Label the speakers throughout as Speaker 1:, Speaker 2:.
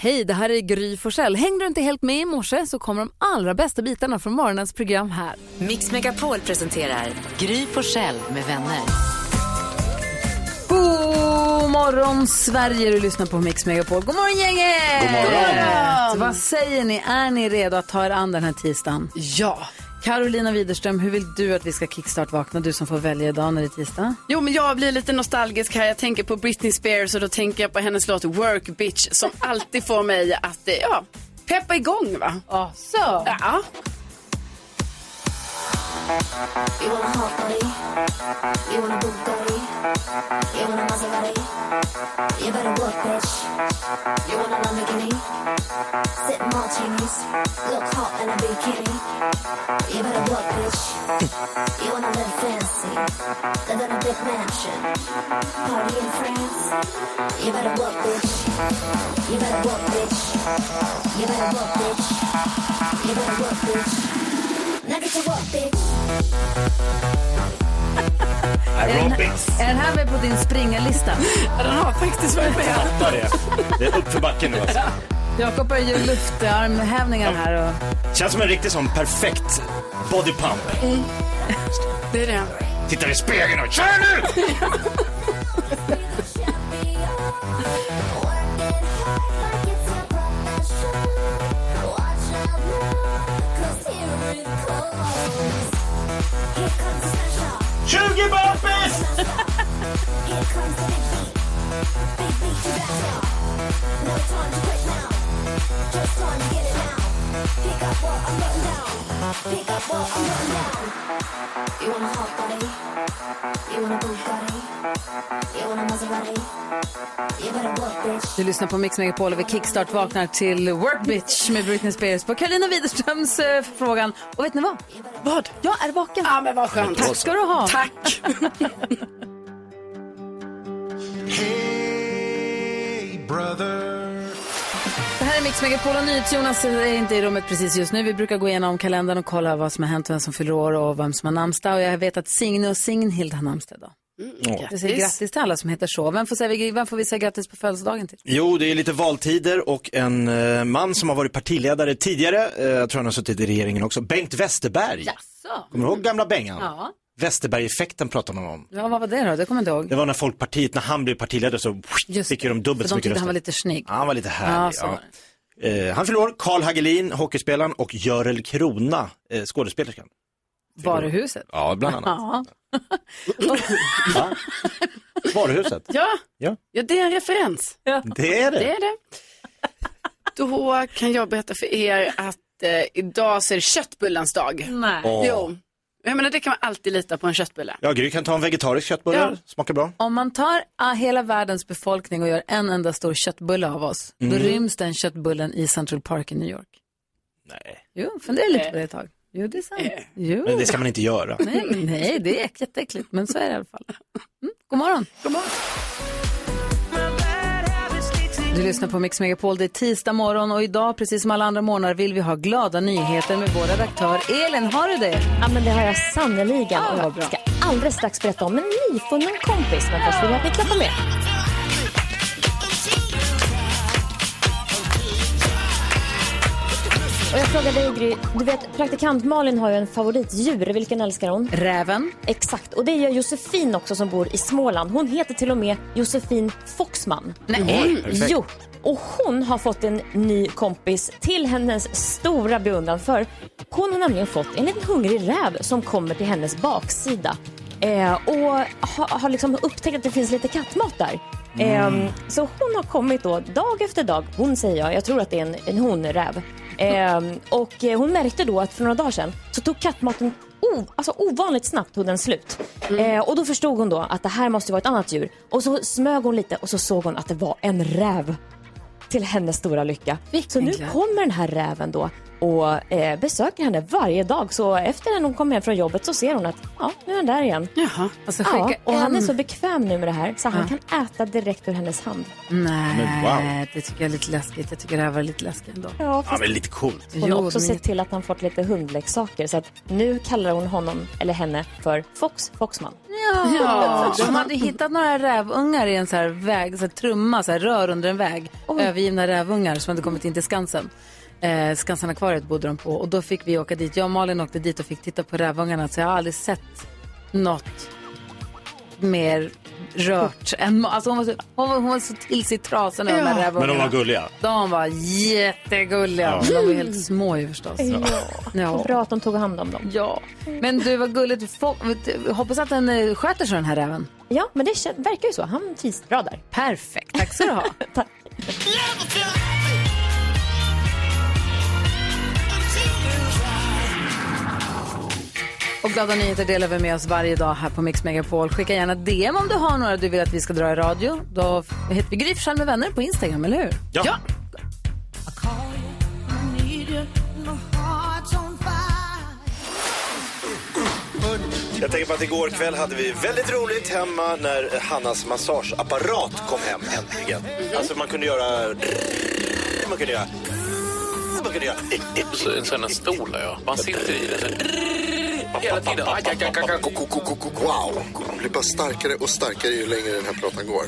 Speaker 1: Hej, det här är Gry Forssell. Hängde du inte helt med i morse så kommer de allra bästa bitarna från morgonens program här.
Speaker 2: Mix Megapol presenterar Gry Forssell med vänner.
Speaker 1: God morgon Sverige, du lyssnar på Mix Megapol. God morgon gänget!
Speaker 3: God morgon. God morgon.
Speaker 1: Vad säger ni, är ni redo att ta er an den här tisdagen?
Speaker 3: Ja.
Speaker 1: Carolina Widerström, hur vill du att vi ska kickstart-vakna? Du som får välja idag när det är tisdag.
Speaker 3: Jo, men jag blir lite nostalgisk här. Jag tänker på Britney Spears och då tänker jag på hennes låt Work Bitch som alltid får mig att eh, ja, peppa igång. va?
Speaker 1: Ja, så.
Speaker 3: Ja.
Speaker 4: You want a hot body? You want a Bugatti? You want a Maserati? You better work, bitch. You want a Lamborghini? Sip martinis. Look hot in a bikini. You better work, bitch. You wanna live fancy? Live in a big mansion. Party in France? You better work, bitch. You better work, bitch. You better work, bitch. You better work, bitch. Now get to work, bitch.
Speaker 5: Aerobics.
Speaker 1: Är den här med på din springarlista?
Speaker 3: Ja, Den har faktiskt varit med.
Speaker 5: Fattar det. Det är uppför backen nu alltså.
Speaker 1: Jakob börjar göra luftarmhävningar här. Och...
Speaker 5: Känns som en riktig sån perfekt body pump.
Speaker 3: Det är det.
Speaker 5: Tittar i spegeln och kör nu!
Speaker 4: Here
Speaker 5: 20 burpees!
Speaker 4: comes the big beat, big beat to back out. No time to quit now, just time to get it now. Pick up what I'm putting down, pick up what I'm putting down. You want a hot body, you want a Bugatti, you want a Maserati, you better work, bitch.
Speaker 1: Du lyssnar på Mix Megapol och vi kickstart vaknar till Work Bitch med Britney Spears på Carolina Widerströms eh, förfrågan. Och vet ni vad?
Speaker 3: Vad?
Speaker 1: Jag är vaken.
Speaker 3: Ja, men vad skönt.
Speaker 1: Tack ska du ha.
Speaker 3: Tack.
Speaker 6: Hey, brother.
Speaker 1: Det här är Mix Megapol och NyhetsJonas är inte i rummet precis just nu. Vi brukar gå igenom kalendern och kolla vad som har hänt, vem som fyller år och vem som har namnsdag. Och jag vet att Signe och Signhild har namnsdag idag. Vi säger grattis till alla som heter så. Vem får, säga, vem får vi säga grattis på födelsedagen till?
Speaker 7: Jo, det är lite valtider och en eh, man som har varit partiledare tidigare, eh, jag tror han har suttit i regeringen också, Bengt Westerberg.
Speaker 1: Jaså?
Speaker 7: Kommer du ihåg gamla Bengan?
Speaker 1: Ja.
Speaker 7: Westerberg-effekten pratar man om.
Speaker 1: Ja, vad var det då? Det kommer jag inte ihåg.
Speaker 7: Det var när Folkpartiet, när han blev partiledare så
Speaker 1: Just
Speaker 7: fick
Speaker 1: det.
Speaker 7: ju de dubbelt
Speaker 1: För
Speaker 7: så
Speaker 1: de
Speaker 7: mycket
Speaker 1: tyckte
Speaker 7: röster.
Speaker 1: han var lite snygg.
Speaker 7: Ja, han var lite
Speaker 1: Ja,
Speaker 7: härlig.
Speaker 1: så var
Speaker 7: Ja, Eh, han förlorar Karl Hagelin, hockeyspelaren, och Görel Krona, eh, skådespelerskan.
Speaker 1: Varuhuset.
Speaker 7: Ja, bland annat.
Speaker 1: Ja.
Speaker 7: Va? Varuhuset.
Speaker 3: Ja.
Speaker 7: Ja.
Speaker 3: ja, det är en referens.
Speaker 7: Det är
Speaker 3: Det
Speaker 7: det.
Speaker 3: är det. Då kan jag berätta för er att eh, idag så är det köttbullans dag.
Speaker 1: Nej.
Speaker 7: Åh.
Speaker 3: Jo, jag menar det kan man alltid lita på en köttbulle.
Speaker 7: Ja, Gry kan ta en vegetarisk köttbulle,
Speaker 3: Ja.
Speaker 7: smakar bra.
Speaker 1: Om man tar ah, hela världens befolkning och gör en enda stor köttbulle av oss,
Speaker 7: Mm.
Speaker 1: då ryms den köttbullen i Central Park i New York.
Speaker 7: Nej,
Speaker 1: Jo, fundera lite på det ett tag. Jo, det är sant.
Speaker 3: Eh,
Speaker 1: Jo.
Speaker 7: men det ska man inte göra.
Speaker 1: Nej, nej, det är jätteäckligt, men så är det i alla fall. Mm, god morgon.
Speaker 3: God morgon.
Speaker 1: Du lyssnar på Mix Megapol, det är tisdag morgon och idag, precis som alla andra morgnar, vill vi ha glada nyheter med vår redaktör Elin. Har du det?
Speaker 8: Ja, men det har jag sannerligen. och jag ska alldeles strax berätta om en nyfunnen kompis. Men först vill jag att ni klappar med. Och jag frågar dig, Gry. Du vet, praktikant Malin har ju en favoritdjur. Vilken älskar hon?
Speaker 1: Räven.
Speaker 8: Exakt. Och det gör Josefin också som bor i Småland. Hon heter till och med Josefin Foxman.
Speaker 1: Nej.
Speaker 7: Perfekt.
Speaker 8: Jo, och hon har fått en ny kompis till hennes stora beundran för hon har nämligen fått en liten hungrig räv som kommer till hennes baksida eh, och har, har liksom upptäckt att det finns lite kattmat där. Eh, så hon har kommit då dag efter dag, hon säger jag, jag tror att det är en, en honräv. Eh, och eh, hon märkte då att för några dagar sedan så tog kattmaten o, alltså ovanligt snabbt tog den slut. Eh, och då förstod hon då att det här måste vara ett annat djur. Och så smög hon lite och så såg hon att det var en räv. Till hennes stora lycka. så nu
Speaker 1: glöd.
Speaker 8: kommer den här räven då och eh, besöker henne varje dag. Så efter när hon kommer hem från jobbet så ser hon att ja, nu är han där igen.
Speaker 3: Jaha.
Speaker 1: Alltså,
Speaker 8: Ja,
Speaker 1: skicka
Speaker 8: och han är
Speaker 1: en-
Speaker 8: så bekväm nu med det här så han kan äta direkt ur hennes hand.
Speaker 1: Nej,
Speaker 7: Men wow.
Speaker 1: det tycker jag är lite läskigt. Jag tycker det här var lite läskigt ändå.
Speaker 8: Ja,
Speaker 7: Ja,
Speaker 8: fast
Speaker 7: men lite coolt.
Speaker 8: hon har
Speaker 1: Jo,
Speaker 8: också
Speaker 1: men-
Speaker 8: sett till att han fått lite hundleksaker så att nu kallar hon honom, eller henne, för Fox Foxman.
Speaker 1: Ja. De hade ju hittat några rävungar i en så här väg, så här trumma, så här rör under en väg. Övergivna rävungar som hade kommit in till Skansen. Eh, Skansenakvariet bodde de på och då fick vi åka dit. Jag och Malin åkte dit och fick titta på rävungarna så jag har aldrig sett något mer rört än... Alltså hon var så, hon var, hon var så till sig i trasen över de här rävungarna.
Speaker 9: Men de var gulliga.
Speaker 1: De var jättegulliga.
Speaker 9: Ja.
Speaker 1: Men De var helt små ju förstås. Ja.
Speaker 10: Vad Bra att de tog hand om dem.
Speaker 1: Ja. Men du, vad gulligt. Få, hoppas att den eh, sköter sig den här räven.
Speaker 10: Ja, men det kän- verkar ju så. Han trivs bra där.
Speaker 1: Perfekt. Tack ska du ha.
Speaker 10: Tack.
Speaker 1: Och glada nyheter delar vi med oss varje dag här på Mix Megapol. Skicka gärna DM om du har några du vill att vi ska dra i radio. Då f- heter vi Gry Forssell med vänner på Instagram, eller hur?
Speaker 9: Ja.
Speaker 7: Jag tänker på att igår kväll hade vi väldigt roligt hemma när Hannas massageapparat kom hem äntligen.
Speaker 11: Mm-hmm.
Speaker 7: Alltså man kunde göra... Man kunde göra... Man kunde göra...
Speaker 11: Så, en sån här stol har jag. Man sitter i den. så- Hela tiden. Aj, aj, aj, aj, aj.
Speaker 12: Wow! Det blir bara starkare och starkare ju längre den här pratan går.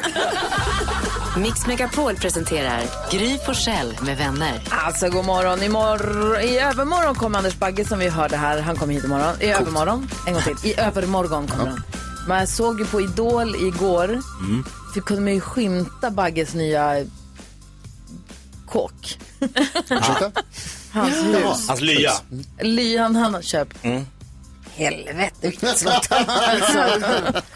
Speaker 2: Mix Megapol presenterar Gry Forssell med vänner.
Speaker 1: Alltså, god morgon. Imorgon, I övermorgon kommer Anders Bagge som vi hörde här. Han kommer hit imorgon. I övermorgon. En gång till. I övermorgon kommer han. Man såg ju på Idol igår. För kunde man ju skymta Bagges nya kåk.
Speaker 12: Ursäkta?
Speaker 1: Hans hus.
Speaker 9: Hans lya.
Speaker 1: Lyan han har köpt.
Speaker 7: Mm.
Speaker 1: Helvete vilket slott han har. alltså.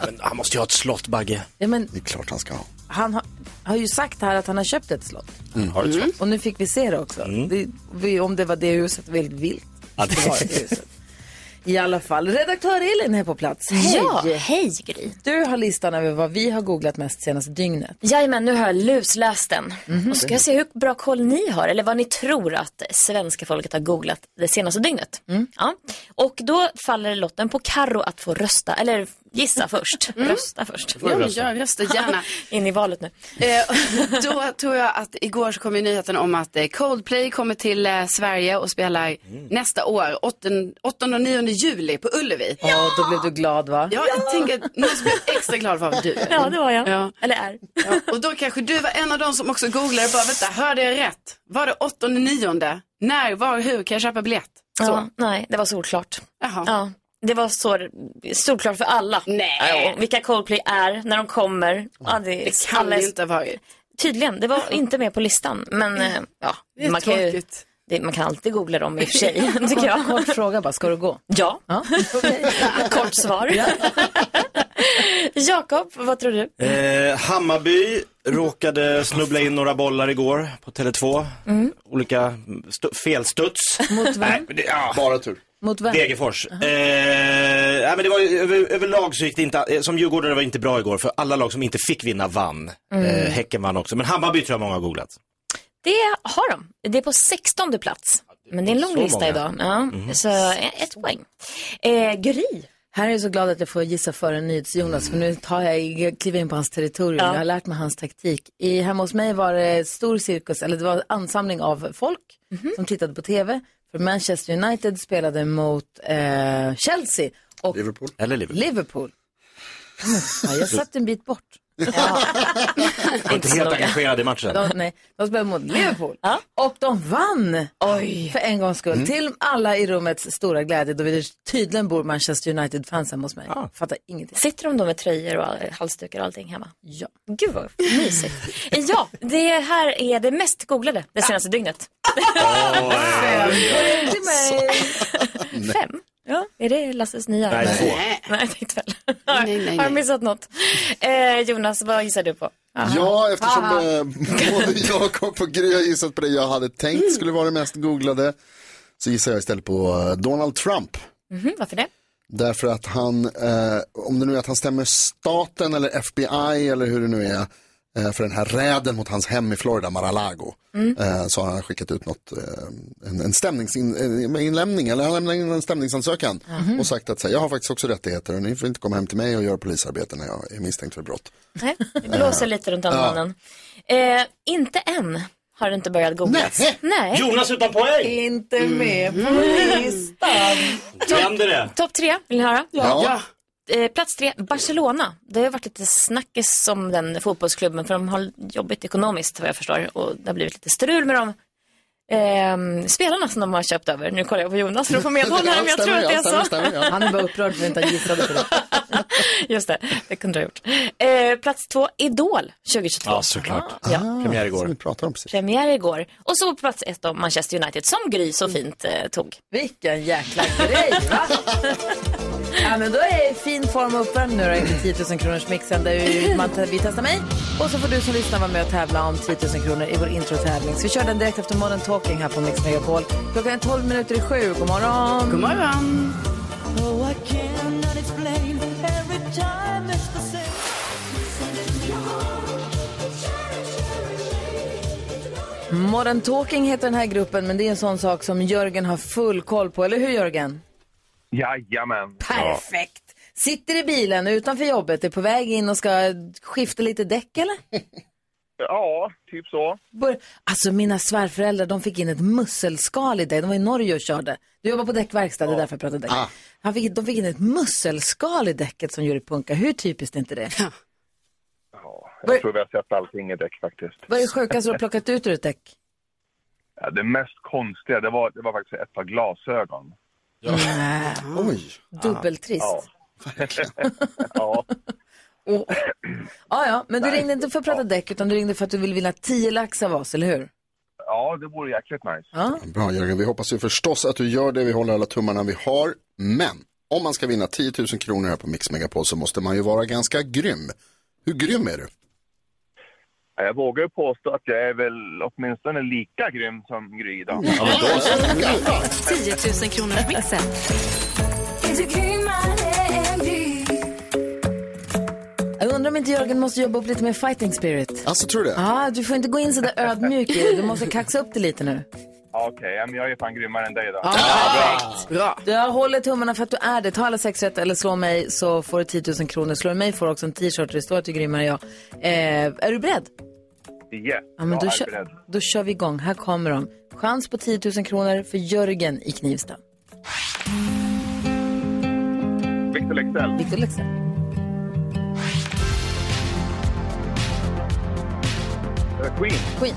Speaker 7: Men han måste ju ha ett slott, Bagge.
Speaker 1: ja, men
Speaker 12: Det är klart han ska ha.
Speaker 1: Han har, har ju sagt här att han har köpt ett slott.
Speaker 7: Mm.
Speaker 9: Har du ett slott?
Speaker 1: Mm. Och nu fick vi se det också.
Speaker 3: Mm.
Speaker 1: Det, vi, om det var det huset, väldigt vilt.
Speaker 9: Ja,
Speaker 3: Ah.
Speaker 9: det var
Speaker 1: det huset. I alla fall, redaktör Elin är på plats. Hej!
Speaker 8: Ja, hej Gry.
Speaker 1: Du har listan över vad vi har googlat mest senaste dygnet.
Speaker 8: Jajamän, nu har jag lusläst den. Och ska jag se hur bra koll ni har, eller vad ni tror att svenska folket har googlat det senaste dygnet. Ja. Och då faller lotten på Karo att få rösta, eller gissa först. Rösta först.
Speaker 3: Ja, men jag röstar gärna.
Speaker 8: In i valet nu.
Speaker 3: Eh, då tror jag att igår så kom ju nyheten om att eh, Coldplay kommer till eh, Sverige och spelar nästa år, 8, 8 och 9 juli på Ullevi. Ja,
Speaker 1: Ja, då blev du glad va?
Speaker 3: jag tänker att någon som är extra glad för att du är.
Speaker 8: Ja, det var jag.
Speaker 3: Ja.
Speaker 8: Eller är.
Speaker 3: Ja, och då kanske du var en av de som också googlade bara, vänta, hörde jag rätt? Var det 8 och 9? När, var, hur kan jag köpa biljett? Så.
Speaker 8: Ja, nej, det var solklart.
Speaker 3: Jaha.
Speaker 8: Ja. Det var så solklart för alla.
Speaker 3: Nej.
Speaker 8: Ja, och vilka Coldplay är, när de kommer. Ja, det,
Speaker 3: Det kan
Speaker 8: alla är-
Speaker 3: det inte ha varit.
Speaker 8: Tydligen, det var inte med på listan. Men eh, ja,
Speaker 3: Det är
Speaker 8: man kan, ju,
Speaker 3: tråkigt.
Speaker 8: det, man kan alltid googla dem i och för sig, tycker jag.
Speaker 1: Kort fråga bara, ska du gå?
Speaker 8: Ja,
Speaker 1: Ja.
Speaker 8: kort svar. Jakob, vad tror du?
Speaker 11: Mm.
Speaker 7: Eh, Hammarby råkade snubbla in några bollar igår på Tele2.
Speaker 8: Mm.
Speaker 7: Olika stu- felstuds.
Speaker 1: Mot
Speaker 7: Nej,
Speaker 1: vem?
Speaker 7: men det, ja.
Speaker 12: Bara tur.
Speaker 1: Mot vem?
Speaker 7: Degerfors. Eh, nej, men det var, ju- över, överlag så gick det inte, eh, som Djurgården var inte bra igår, för alla lag som inte fick vinna vann.
Speaker 1: Mm.
Speaker 7: Eh, häcken vann också, men Hammarby tror jag många har googlat.
Speaker 8: Det har de. Det är på 16 plats. Men det är en lång
Speaker 7: Så
Speaker 8: lista
Speaker 7: många. Mm.
Speaker 8: idag. Ja, Så eh, ett poäng. Eh, Gry,
Speaker 1: Här är jag så glad att jag får gissa före NyhetsJonas, för nu tar jag, jag kliver in på hans territorium. Jag har lärt mig hans taktik. I, hemma hos mig var det stor cirkus, eller det var ansamling av folk som tittade på tv. För Manchester United spelade mot eh, Chelsea och
Speaker 12: Liverpool.
Speaker 7: Eller Liverpool.
Speaker 1: Liverpool. Ja, jag satt en bit bort.
Speaker 7: Jag var inte helt engagerad i matchen.
Speaker 1: De, nej, de spelade mot Liverpool. Och de vann! För en gångs skull.
Speaker 3: Mm.
Speaker 1: Till alla i rummets stora glädje, då det tydligen bor Manchester United-fans hemma hos mig. Fattar ingenting.
Speaker 8: sitter de då med tröjor och all- halsdukar och allting hemma?
Speaker 1: Ja.
Speaker 8: Gud vad mysigt. Eh, ja, det här är det mest googlade det senaste dygnet.
Speaker 1: Till mig.
Speaker 8: Fem? Ja. Är det Lasses nya?
Speaker 7: Nej, två.
Speaker 3: Nej.
Speaker 8: Nej, jag tänkte väl.
Speaker 3: nej, nej.
Speaker 8: Har jag missat något? Eh, Jonas, vad gissar du på?
Speaker 12: Ja, eftersom eh, både Jakob och Gry har gissat på det jag hade tänkt skulle vara det mest googlade så gissar jag istället på eh, Donald Trump.
Speaker 8: Mhm, varför det?
Speaker 12: Därför att han, eh, om det nu är att han stämmer staten eller FBI eller hur det nu är eh, för den här räden mot hans hem i Florida, Mar-a-Lago, eh, så har han skickat ut något, eh, en, en stämningsinlämning, eller han lämnade in en stämningsansökan och sagt att så här, jag har faktiskt också rättigheter och ni får inte komma hem till mig och göra polisarbete när jag är misstänkt för brott.
Speaker 8: Nej, det blåser lite runt om mannen. Eh, inte än har det inte börjat googlas.
Speaker 12: Nej.
Speaker 8: Nej. Mhm.
Speaker 9: Jonas utan poäng!
Speaker 1: Inte med på listan.
Speaker 9: Vänder det.
Speaker 8: Topp tre, vill ni höra?
Speaker 12: Ja,
Speaker 3: Ja,
Speaker 8: Eh, Plats tre, Barcelona. Det har varit lite snackis om den fotbollsklubben för de har jobbigt ekonomiskt vad jag förstår och det har blivit lite strul med dem. Ehm, spelarna som de har köpt över. Nu kollar jag på Jonas för att få medhåll här om jag tror att det är så.
Speaker 1: Han är bara upprörd för att inte han gissade på det.
Speaker 8: Just det, det kunde du ha gjort. Eh, plats två, Idol 2022.
Speaker 7: Ja, såklart.
Speaker 8: Ja.
Speaker 12: Ah,
Speaker 7: Premiär igår.
Speaker 8: Premiär igår. Och så på plats ett då, Manchester United som Gry så fint eh, tog.
Speaker 1: Vilken jäkla grej va? ja men då är jag i fin form och uppvärmd nu då inför 10 000 kronors mixen där vi- man, vi testar mig. Och så får du som lyssnar vara med och tävla om 10 000 kronor i vår introtävling. Så vi kör den direkt efter Modern Talking här på Mix Megapol. Klockan är 12 minuter i sju. God morgon!
Speaker 3: God morgon!
Speaker 1: Oh, I cannot explain every time it's the same. Modern Talking heter den här gruppen, men det är en sån sak som Jörgen har full koll på. Eller hur Jörgen?
Speaker 5: Jajamän.
Speaker 1: Perfekt. Sitter i bilen utanför jobbet, är på väg in och ska skifta lite däck eller?
Speaker 5: Ja, ja typ så.
Speaker 1: Bör- Alltså mina svärföräldrar, de fick in ett musselskal i dig. De var i Norge och körde. Du jobbar på däckverkstad, det är därför jag pratar däck.
Speaker 5: Ah.
Speaker 1: Han fick, de fick in ett musselskal i däcket som gjorde punka. Hur typiskt är inte det?
Speaker 5: Jag tror vi har sett allting i däck faktiskt.
Speaker 1: Vad är det sjukaste du har plockat ut ur ett däck?
Speaker 5: Ja, det mest konstiga, det var, det var faktiskt ett par glasögon.
Speaker 1: Nej.
Speaker 5: Oj.
Speaker 1: Dubbeltrist.
Speaker 5: Ja. ja.
Speaker 1: Oh. Ja, ja, men du
Speaker 5: Nej.
Speaker 1: ringde inte för att prata däck utan du ringde för att du ville vinna 10 lax av oss, eller hur?
Speaker 5: ja, det vore jäkligt nice.
Speaker 1: Ja.
Speaker 12: Bra Jörgen, vi hoppas ju förstås att du gör det. Vi håller alla tummarna vi har. Men om man ska vinna 10 000 kronor här på Mix Megapol så måste man ju vara ganska grym. Hur grym är du?
Speaker 5: Ja, Jag vågar ju påstå att jag är väl åtminstone lika grym som Gry då.
Speaker 12: Ja, men då så.
Speaker 2: 10 000 kronors mixen.
Speaker 1: Jag undrar om inte Jörgen måste jobba upp lite mer fighting spirit.
Speaker 12: Alltså tror du det?
Speaker 1: Ja, du får inte gå in så där ödmjuk i det. Du måste kaxa upp det lite nu.
Speaker 5: Ja, Okej, ja, men jag är fan grymmare än dig då.
Speaker 1: perfekt. Jag håller tummarna för att du är det. Ta alla sex rätt eller slå mig så får du 10 000 kronor. Slår du mig får du också en t-shirt där det står att du är grymmare än jag. Eh, är du beredd?
Speaker 5: Yes,
Speaker 1: Ja, men
Speaker 5: jag
Speaker 1: då,
Speaker 5: är
Speaker 1: kör,
Speaker 5: beredd.
Speaker 1: då kör vi igång. Här kommer de. Chans på 10 000 kronor för Jörgen i Knivsta.
Speaker 5: Victor Leksell.
Speaker 1: Victor Leksell.
Speaker 5: Eh, Queen.
Speaker 1: Queen.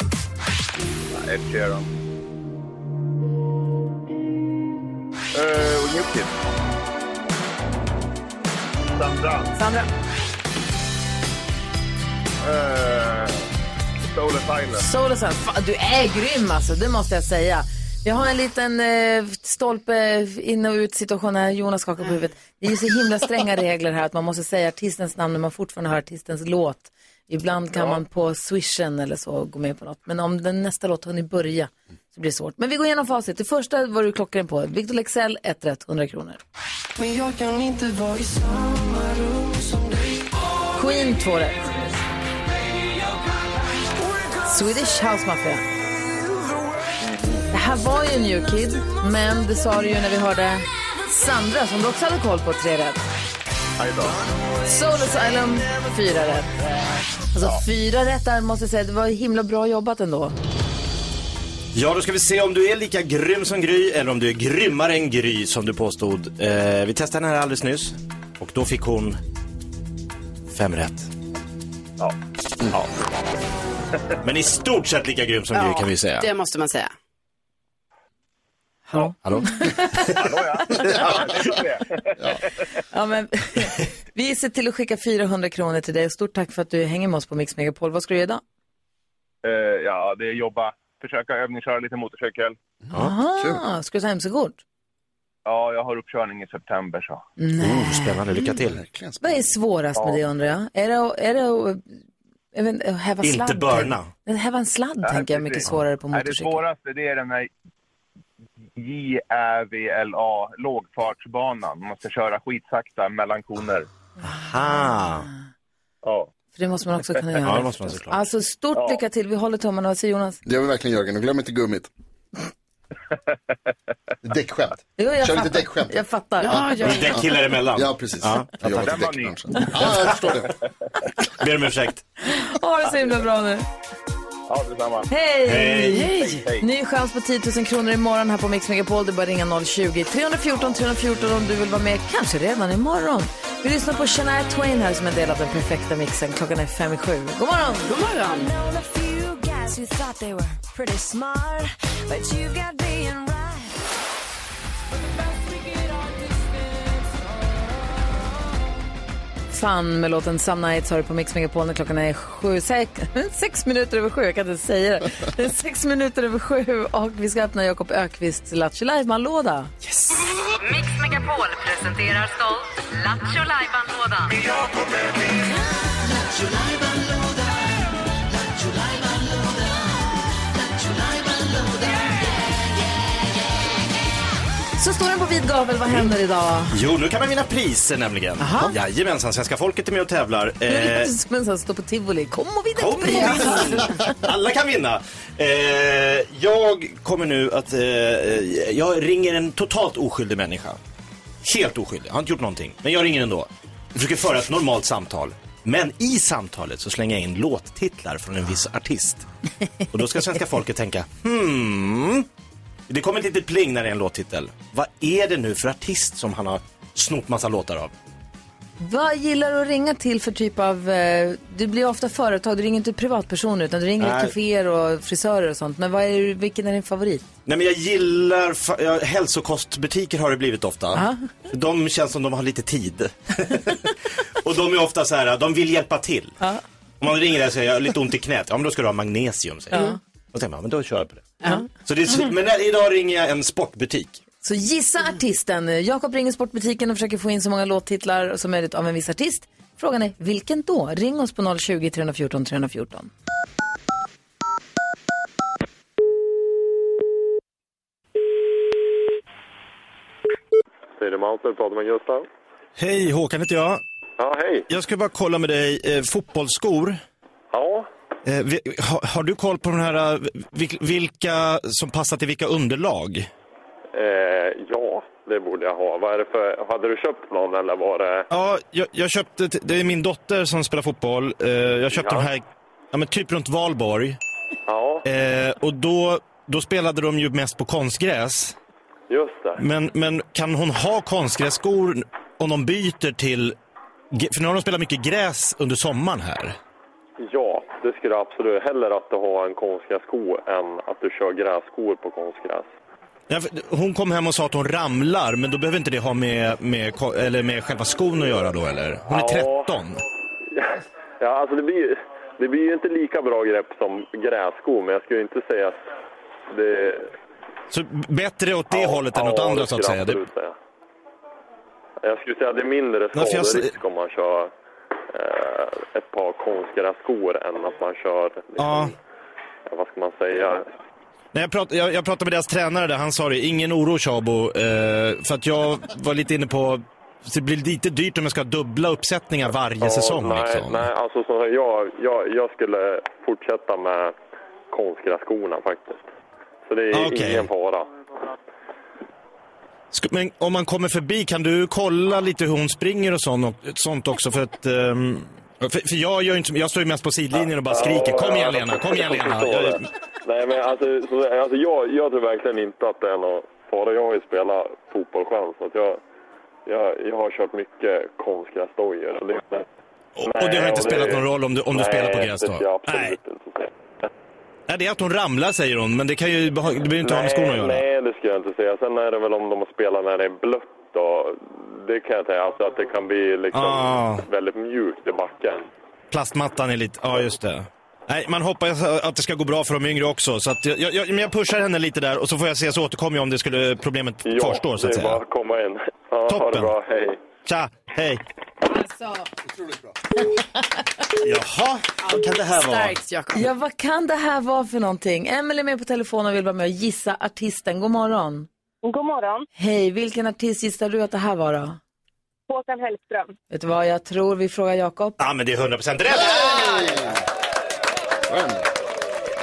Speaker 5: Ja, Ed Sheeran. Uh, New Kids. Sandra.
Speaker 1: Sandra.
Speaker 5: Uh, Soul Asylum.
Speaker 1: Solosan, fan, du är grym alltså, det måste jag säga. Jag har en liten eh, stolpe in och ut situation här, Jonas skakar på huvudet. Det är ju så himla stränga regler här att man måste säga artistens namn när man fortfarande hör artistens låt. Ibland kan
Speaker 2: Ja.
Speaker 1: man på swishen eller så gå med på något. Men om den nästa låt har ni börja så blir det svårt. Men vi går igenom facit. Det första var du klockren på. Victor Lexell, ett rätt, 100 kronor.
Speaker 4: Men jag kan inte vara i samma rum som dig
Speaker 1: Queen, två rätt. Swedish House Mafia. Det här var ju New Kid, men det sa du ju när vi hörde Sandra som du också hade koll på, tre rätt.
Speaker 5: Aj då.
Speaker 1: Soul Asylum, fyra rätt. Alltså fyra rätt där måste jag säga, det var himla bra jobbat ändå.
Speaker 7: Ja, då ska vi se om du är lika grym som Gry eller om du är grymmare än Gry som du påstod. Eh, vi testade henne här alldeles nyss och då fick hon fem rätt.
Speaker 5: Ja. ja.
Speaker 7: Men i stort sett lika grym som Gry kan vi säga.
Speaker 3: Det måste man säga.
Speaker 1: Hallå?
Speaker 7: Hallå?
Speaker 1: Ja, men, vi ser till att skicka 400 kronor till dig och stort tack för att du hänger med oss på Mix Megapol. Vad ska du göra idag?
Speaker 5: Eh, ja, det är jobba. Försöka övningsköra lite motorcykel.
Speaker 1: Aha, ska du ta mc-kort?
Speaker 5: Ja, jag har uppkörning i september så.
Speaker 1: Nej.
Speaker 7: Mm, spännande, lycka till.
Speaker 1: Vad är svårast med det undrar jag? Är det, att- är det att, jag vet, inte, att häva
Speaker 5: Inte
Speaker 1: sladd?
Speaker 5: börna.
Speaker 1: Men Häva en sladd
Speaker 5: Nej,
Speaker 1: tänker jag är mycket
Speaker 5: precis.
Speaker 1: svårare på
Speaker 5: Nej, Det
Speaker 1: motorcykel.
Speaker 5: svåraste det är den här JÄVLA, lågfartsbanan. Man måste köra skitsakta mellan koner.
Speaker 7: Aha.
Speaker 5: Ja.
Speaker 1: För det måste man också kunna göra.
Speaker 12: Ja, det måste man såklart.
Speaker 1: Alltså stort lycka till, vi håller tummarna. Vad säger Jonas?
Speaker 12: Det gör vi verkligen Jörgen och glöm inte gummit. Däckskämt.
Speaker 1: Jo, jag
Speaker 12: Kör
Speaker 1: fattar.
Speaker 12: lite däckskämt.
Speaker 1: Jag fattar.
Speaker 7: Däckkillar emellan.
Speaker 12: Ja, precis.
Speaker 7: Ja,
Speaker 12: jag jobbar
Speaker 7: fattar.
Speaker 12: i däckbranschen. Ja, jag förstår det.
Speaker 7: Ber om ursäkt.
Speaker 1: Ha det så himla bra nu.
Speaker 5: Ja, detsamma.
Speaker 1: Hej!
Speaker 5: Hej, hej.
Speaker 1: Ny chans på 10 000 kronor imorgon här på Mix Megapol. Det är bara att ringa 020-314 314 om du vill vara med, kanske redan imorgon. Vi lyssnar på Shania Twain här som är en del av den perfekta mixen. Klockan är fem i sju. God morgon!
Speaker 3: God morgon!
Speaker 1: Fan med låten Some Nights har du på Mix Megapol när klockan är sju, sex, sex minuter över sju. Jag kan inte säga det. Det är sex minuter över sju och vi ska öppna Jakob Ökvists Lattjo Lajban-låda.
Speaker 2: Mix Megapol presenterar stolt Lattjo Lajban-lådan.
Speaker 1: Så står den på vid gavel. Vad händer idag?
Speaker 7: Jo, nu kan man vinna priser nämligen.
Speaker 1: Aha.
Speaker 7: Jajamensan, svenska folket är med och tävlar.
Speaker 1: Nu är det
Speaker 7: Eh,
Speaker 1: faktiskt som en sån som står på tivoli. Kom och vinna
Speaker 7: Kom
Speaker 1: ett pris!
Speaker 7: Alla kan vinna. Eh, jag kommer nu att... Eh, jag ringer en totalt oskyldig människa. Helt oskyldig. Har inte gjort någonting. Men jag ringer ändå. Jag försöker föra ett normalt samtal. Men i samtalet så slänger jag in låttitlar från en viss artist. Och då ska svenska folket tänka, hmm. Det kommer ett litet pling när det är en låttitel. Vad är det nu för artist som han har snott massa låtar av?
Speaker 1: Vad gillar du att ringa till för typ av... eh, Du blir ofta företag, du ringer inte privatpersoner utan du ringer
Speaker 7: Nej.
Speaker 1: kaféer och frisörer och sånt. Men vad är, vilken är din favorit?
Speaker 7: Nej men jag gillar, fa- ja, hälsokostbutiker har det blivit ofta. De känns som de har lite tid. och de är ofta så här, de vill hjälpa till. Om man ringer där och säger, jag har lite ont i knät, ja men då ska du ha magnesium säger jag. Och tänker man, "Ja, men då kör jag på det. Så det är, s- men där, idag ringer jag en sportbutik.
Speaker 1: Så gissa artisten. Jakob ringer sportbutiken och försöker få in så många låttitlar som möjligt av en viss artist. Frågan är vilken då? Ring oss på 020-314 314.
Speaker 13: Södermalmstorp pratar med Gustav.
Speaker 7: Hej, Håkan heter jag.
Speaker 13: Ja, hej.
Speaker 7: Jag ska bara kolla med dig, eh, fotbollsskor.
Speaker 13: Ja.
Speaker 7: Eh, vi, har, har du koll på de här, eh, vil, vilka som passar till vilka underlag?
Speaker 13: Eh, ja, det borde jag ha. Vad är det för... Hade du köpt någon eller var det...
Speaker 7: Ja, jag, jag köpte, t- det är min dotter som spelar fotboll. Eh, jag köpte
Speaker 13: Ja.
Speaker 7: de här, ja men typ runt Valborg.
Speaker 13: Ja,
Speaker 7: Eh, och då, då spelade de ju mest på konstgräs.
Speaker 13: just det.
Speaker 7: Men, men kan hon ha konstgrässkor om de byter till, gr- för nu har de spelat mycket gräs under sommaren här.
Speaker 13: Ja, det skulle jag absolut. Hellre att du har en konstgrässko än att du kör grässkor på konstgräs.
Speaker 7: Ja, för Hon kom hem och sa att hon ramlar, men då behöver inte det ha med, med, ko- eller med själva skon att göra då eller? Hon är
Speaker 13: Ja.
Speaker 7: 13.
Speaker 13: Ja, alltså det blir, det blir ju inte lika bra grepp som grässkor, men jag skulle inte säga att det...
Speaker 7: Så b- bättre åt det hållet än åt
Speaker 13: Ja,
Speaker 7: andra
Speaker 13: det
Speaker 7: så att
Speaker 13: skulle jag
Speaker 7: säga. Det,
Speaker 13: absolut säga. Jag skulle säga att det är mindre
Speaker 7: Nej, för jag-
Speaker 13: skaderisk om man kör eh, ett par konstgrässkor än att man kör,
Speaker 7: ja.
Speaker 13: eh, vad ska man säga,
Speaker 7: Nej, jag, prat, jag, jag pratade med deras tränare där, han sa det, ingen oro Chabo. Eh, för att jag var lite inne på, så det blir lite dyrt om jag ska ha dubbla uppsättningar varje
Speaker 13: Ja,
Speaker 7: säsong.
Speaker 13: Nej,
Speaker 7: liksom.
Speaker 13: nej alltså så här, jag, jag, jag skulle fortsätta med konstgrässkorna faktiskt. Så det är
Speaker 7: Ah, okej.
Speaker 13: ingen fara.
Speaker 7: Sk- Men om man kommer förbi, kan du kolla lite hur hon springer och sånt, sånt också? För att... ehm, för, för jag, gör ju inte, jag står ju mest på sidlinjen och bara skriker kom igen Lena, kom igen Lena. Jag,
Speaker 13: Nej men alltså, så, alltså jag, jag tror verkligen inte att det är någon fara. Jag har ju spelat fotboll själv så att jag, jag, jag har kört mycket konstgräsdojor. Och, det-
Speaker 7: och det har
Speaker 13: Nej,
Speaker 7: inte
Speaker 13: och
Speaker 7: spelat någon roll om du- om du
Speaker 13: nej,
Speaker 7: spelar på gräs då?
Speaker 13: det skulle jag absolut
Speaker 7: Nej.
Speaker 13: inte säga.
Speaker 7: nej, det är att hon ramlar säger hon, men det, kan ju, beha- det behöver ju inte ha med skorna att göra.
Speaker 13: Nej, det skulle jag inte säga. Sen är det väl om de spelar när det är blött då. Det kan jag säga. Alltså att det kan bli liksom
Speaker 7: Ah.
Speaker 13: väldigt mjukt i backen.
Speaker 7: Plastmattan är lite, ja just det. Nej, man hoppas att det ska gå bra för de yngre också. Så att jag, jag, men jag pushar henne lite där och så får jag se, så återkommer jag om det skulle problemet kvarstår så att
Speaker 13: det är bara
Speaker 7: säga.
Speaker 13: att komma in. Ja, Ha det
Speaker 7: Toppen.
Speaker 13: bra, hej.
Speaker 7: Tja, hej.
Speaker 1: Alltså.
Speaker 7: Jaha, vad kan det här vara?
Speaker 3: Jakob.
Speaker 1: Ja, vad kan det här vara för någonting? Emelie är med på telefon och vill vara med och gissa artisten. God morgon.
Speaker 14: God morgon.
Speaker 1: Hej, vilken artist gissar du att det här var då?
Speaker 14: Håkan Hellström.
Speaker 1: Vet du vad, jag tror vi frågar Jakob.
Speaker 7: Ja, men det är 100% rätt.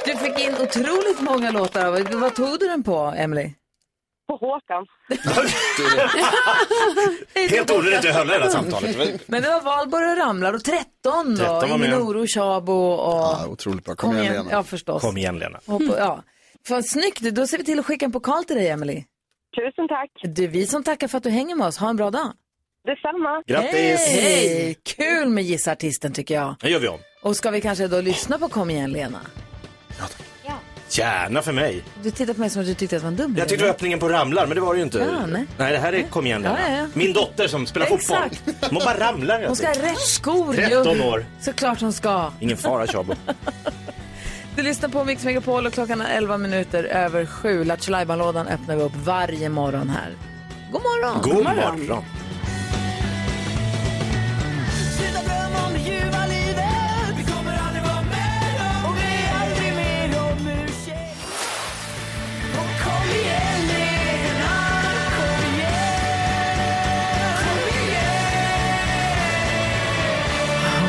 Speaker 1: Du fick in otroligt många låtar. Vad vad tog du den på, Emily?
Speaker 14: På Håkan.
Speaker 7: Helt onödigt att jag höll det här samtalet.
Speaker 1: Men det var Valborg och Ramlar och 13 då.
Speaker 7: 13 var med.
Speaker 1: Ingen oro, Tjabo och...
Speaker 12: Ja, otroligt bra. Kom,
Speaker 1: Kom
Speaker 12: igen,
Speaker 1: igen.
Speaker 12: Lena.
Speaker 1: Ja, förstås.
Speaker 7: Kom igen Lena.
Speaker 1: Hoppa, ja. Vad snyggt, då ser vi till att skicka en pokal till dig Emily.
Speaker 14: Tusen tack.
Speaker 1: Det är vi som tackar för att du hänger med oss. Ha en bra dag.
Speaker 14: Detsamma.
Speaker 1: Hej! Hej! Kul med Gissa Artisten tycker jag.
Speaker 7: Det gör vi om.
Speaker 1: Och ska vi kanske då lyssna på Kom igen Lena?
Speaker 7: Gärna för mig.
Speaker 1: Du tittar på mig som att du tyckte att det var en dum
Speaker 7: Jag tyckte det var öppningen på Ramlar, men det var det ju inte.
Speaker 1: Ja, nej.
Speaker 7: det här är Kom igen Lena.
Speaker 1: Ja, ja, ja.
Speaker 7: Min dotter som spelar
Speaker 1: Exakt.
Speaker 7: fotboll. Hon bara ramlar.
Speaker 1: Hon ska ha rätt skor. ju.
Speaker 7: 13 år.
Speaker 1: Såklart hon ska.
Speaker 7: Ingen fara Tjabo.
Speaker 1: Du lyssnar på Mix Megapol och klockan är 11 minuter över sju. Lattjo Lajban-lådan öppnar vi upp varje morgon här. God morgon!
Speaker 7: God morgon.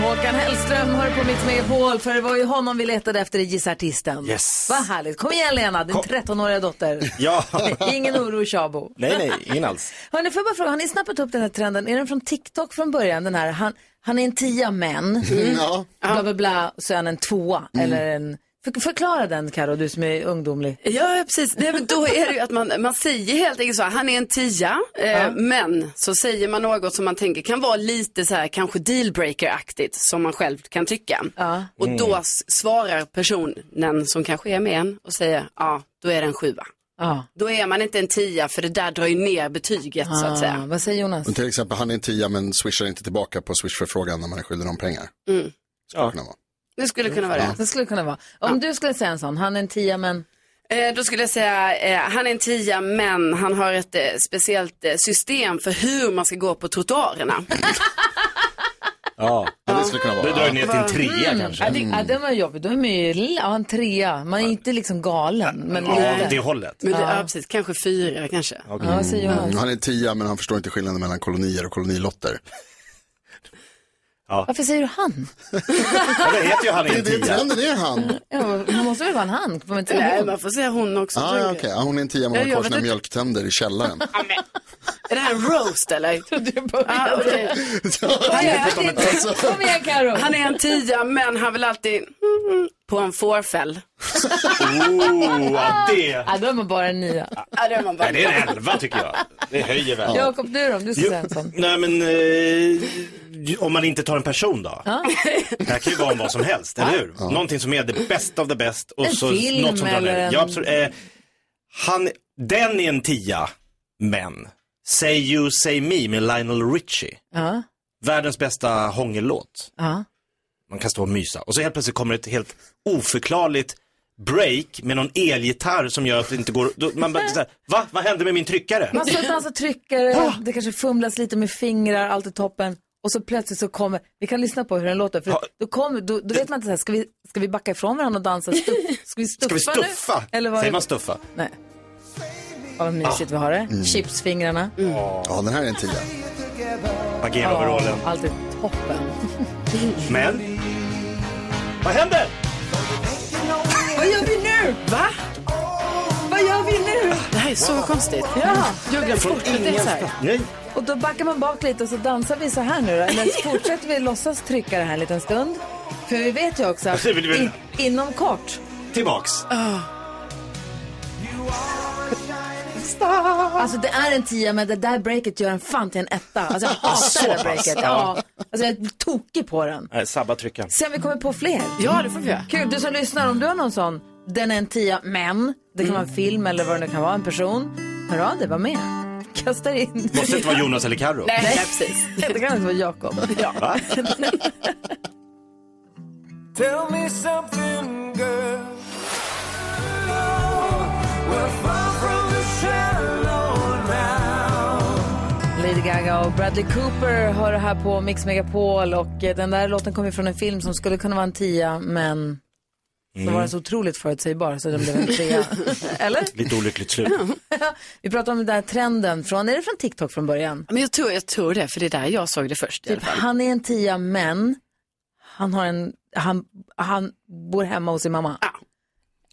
Speaker 1: Håkan Hellström hör på Mix Megapol för det var ju honom vi letade efter i Gissa Artisten.
Speaker 7: Yes.
Speaker 1: Vad härligt. Kom igen Lena, din 13-åriga dotter.
Speaker 7: Ja.
Speaker 1: Ingen oro Tjabo.
Speaker 7: Nej, nej, ingen alls.
Speaker 1: Hörni, får jag bara fråga, har ni snappat upp den här trenden? Är den från TikTok från början? Den här, han, han är en tia men,
Speaker 12: Mm, ja.
Speaker 1: bla bla bla, så är han en tvåa.
Speaker 7: Mm.
Speaker 1: Eller en, för, förklara den Karo, du som är ungdomlig.
Speaker 3: Ja, precis. Nej, men då är det ju att man, man säger helt enkelt så här, han är en tia, eh,
Speaker 1: Ja.
Speaker 3: men så säger man något som man tänker kan vara lite så här, kanske dealbreaker-aktigt, som man själv kan tycka. Och då
Speaker 1: Mm.
Speaker 3: s- svarar personen som kanske är med en och säger, ja, då är det en sjua.
Speaker 1: Ja.
Speaker 3: Då är man inte en tia, för det där drar ju ner betyget, så att säga.
Speaker 1: Vad säger Jonas?
Speaker 12: Men till exempel, han är en tia men swishar inte tillbaka på swishförfrågan när man är skyldig dem pengar.
Speaker 3: Mm.
Speaker 12: Skulle kunna vara.
Speaker 3: Det skulle kunna vara det.
Speaker 1: Det skulle kunna vara. Om du skulle säga en sån, han är en tia men...
Speaker 3: Eh, Då skulle jag säga, eh, han är en tia men han har ett eh, speciellt eh, system för hur man ska gå på trottoarerna.
Speaker 7: Ja,
Speaker 12: det skulle kunna vara.
Speaker 7: Du drar ner till en trea
Speaker 1: Mm.
Speaker 7: kanske.
Speaker 1: Ja, det, ja, den var jobbig. Då är man ju ja, en trea. Man är inte liksom galen. Men
Speaker 7: Ja,
Speaker 1: lite.
Speaker 7: det hållet.
Speaker 3: Men det,
Speaker 1: Ja.
Speaker 3: ja. precis, kanske fyra kanske.
Speaker 1: Ja, vad säger Jonas?
Speaker 12: Mm. Han är en tia men han förstår inte skillnaden mellan kolonier och kolonilotter.
Speaker 1: Varför säger du han?
Speaker 7: det heter ju han
Speaker 12: Det är trenden, det är
Speaker 3: Mm,
Speaker 12: han.
Speaker 1: Ja, man måste väl vara en han? Får man inte säga
Speaker 3: Nej,
Speaker 1: hon?
Speaker 3: man får säga hon också.
Speaker 12: Ah,
Speaker 3: tror
Speaker 12: ja,
Speaker 3: jag.
Speaker 12: okej. Ja, hon är en tia men hon har
Speaker 3: Jag
Speaker 12: kvar
Speaker 3: vet
Speaker 12: sina
Speaker 3: inte.
Speaker 12: mjölktänder i källaren.
Speaker 3: Är det här en roast eller? ah, okej. han, är,
Speaker 1: Kom igen Karo.
Speaker 3: han är en tia men han vill alltid mm, på en fårfäll.
Speaker 7: Oh, ja, det.
Speaker 1: Ja, då är man bara en nia.
Speaker 3: Ja, det är man bara.
Speaker 7: Nej, det är en elva tycker jag. Det höjer väl.
Speaker 1: Jakob, du då? Om du ska
Speaker 7: Jo,
Speaker 1: säga en sån.
Speaker 7: Nej men, eh, om man inte tar en person då. Det här kan ju vara om vad som helst, eller hur? Någonting som är det bästa av det bäst. Och
Speaker 1: En
Speaker 7: så
Speaker 1: film
Speaker 7: något som drar
Speaker 1: eller
Speaker 7: ner.
Speaker 1: en-
Speaker 7: Ja, absolut. Eh, han, den är en tia, men Say You Say Me med Lionel Richie.
Speaker 1: Ja,
Speaker 7: Världens bästa hångellåt.
Speaker 1: ja.
Speaker 7: Man kan stå och mysa. Och så helt plötsligt kommer ett helt oförklarligt break med någon elgitarr som gör att det inte går, då, man bara såhär, va? Vad hände med min tryckare?
Speaker 1: Man står och dansar tryckare, det kanske fumlas lite med fingrar, allt är toppen. Och så plötsligt så kommer, vi kan lyssna på hur den låter, för då, kommer, då, då vet man inte så här, ska vi, ska vi backa ifrån varandra och dansa? Stuff, ska vi
Speaker 7: Ska
Speaker 1: stuffa
Speaker 7: vi stuffa?
Speaker 1: nu? Eller vad
Speaker 7: Säger man stuffa?
Speaker 1: Nej. Ja, vad mysigt vi har det.
Speaker 12: Mm.
Speaker 1: Chipsfingrarna.
Speaker 12: Ja, den här är en tia.
Speaker 7: Bagheeraoverallen.
Speaker 1: allt är toppen.
Speaker 7: Men, vad händer?
Speaker 1: Vad gör vi nu?
Speaker 3: Va?
Speaker 1: Vad gör vi nu?
Speaker 3: Det här är så konstigt.
Speaker 1: Ja.
Speaker 3: Jag glömde bort att det är så här.
Speaker 7: Nej.
Speaker 1: Och då backar man bak lite och så dansar vi så här nu då. Eller så fortsätter vi låtsas trycka det här en liten stund. För vi vet ju också att
Speaker 7: Det Alltså, vill vi-
Speaker 1: in, inom kort.
Speaker 7: Tillbaks.
Speaker 1: Alltså det är en tia men det där breaket gör en fan till en etta. Alltså jag
Speaker 7: Ah, Så
Speaker 1: hatar det där
Speaker 7: pass?
Speaker 1: breaket. Ja.
Speaker 7: Ja.
Speaker 1: Alltså jag är tokig på den.
Speaker 7: Nej, sabba tryckan.
Speaker 1: Sen vi kommer på fler.
Speaker 3: Ja, det får vi göra.
Speaker 1: Kul, du som lyssnar, om du har någon sån, den är en tia, men det kan vara
Speaker 3: Mm.
Speaker 1: en film eller vad det nu kan vara, en person. Hör av dig, var med. Kastar in.
Speaker 7: Måste inte vara Jonas eller Carro.
Speaker 3: Nej, nej, precis.
Speaker 1: Det kan inte vara Jakob. Ja.
Speaker 7: Va?
Speaker 6: Tell me something, girl. We're far from the shallow now.
Speaker 1: Lady Gaga och Bradley Cooper hör det här på Mix Megapol och eh, den där låten kommer från en film som skulle kunna vara en tia, men så
Speaker 7: Mm.
Speaker 8: Mm.
Speaker 1: var den så otroligt förutsägbar så den blev en trea. Eller?
Speaker 7: Lite olyckligt slut.
Speaker 1: Vi pratar om den där trenden från, är det från TikTok från början?
Speaker 3: Men jag tror, jag tror det, för det är där jag såg det först i alla
Speaker 1: Typ,
Speaker 3: fall.
Speaker 1: han är en tia men han, har en, han, han bor hemma hos sin mamma.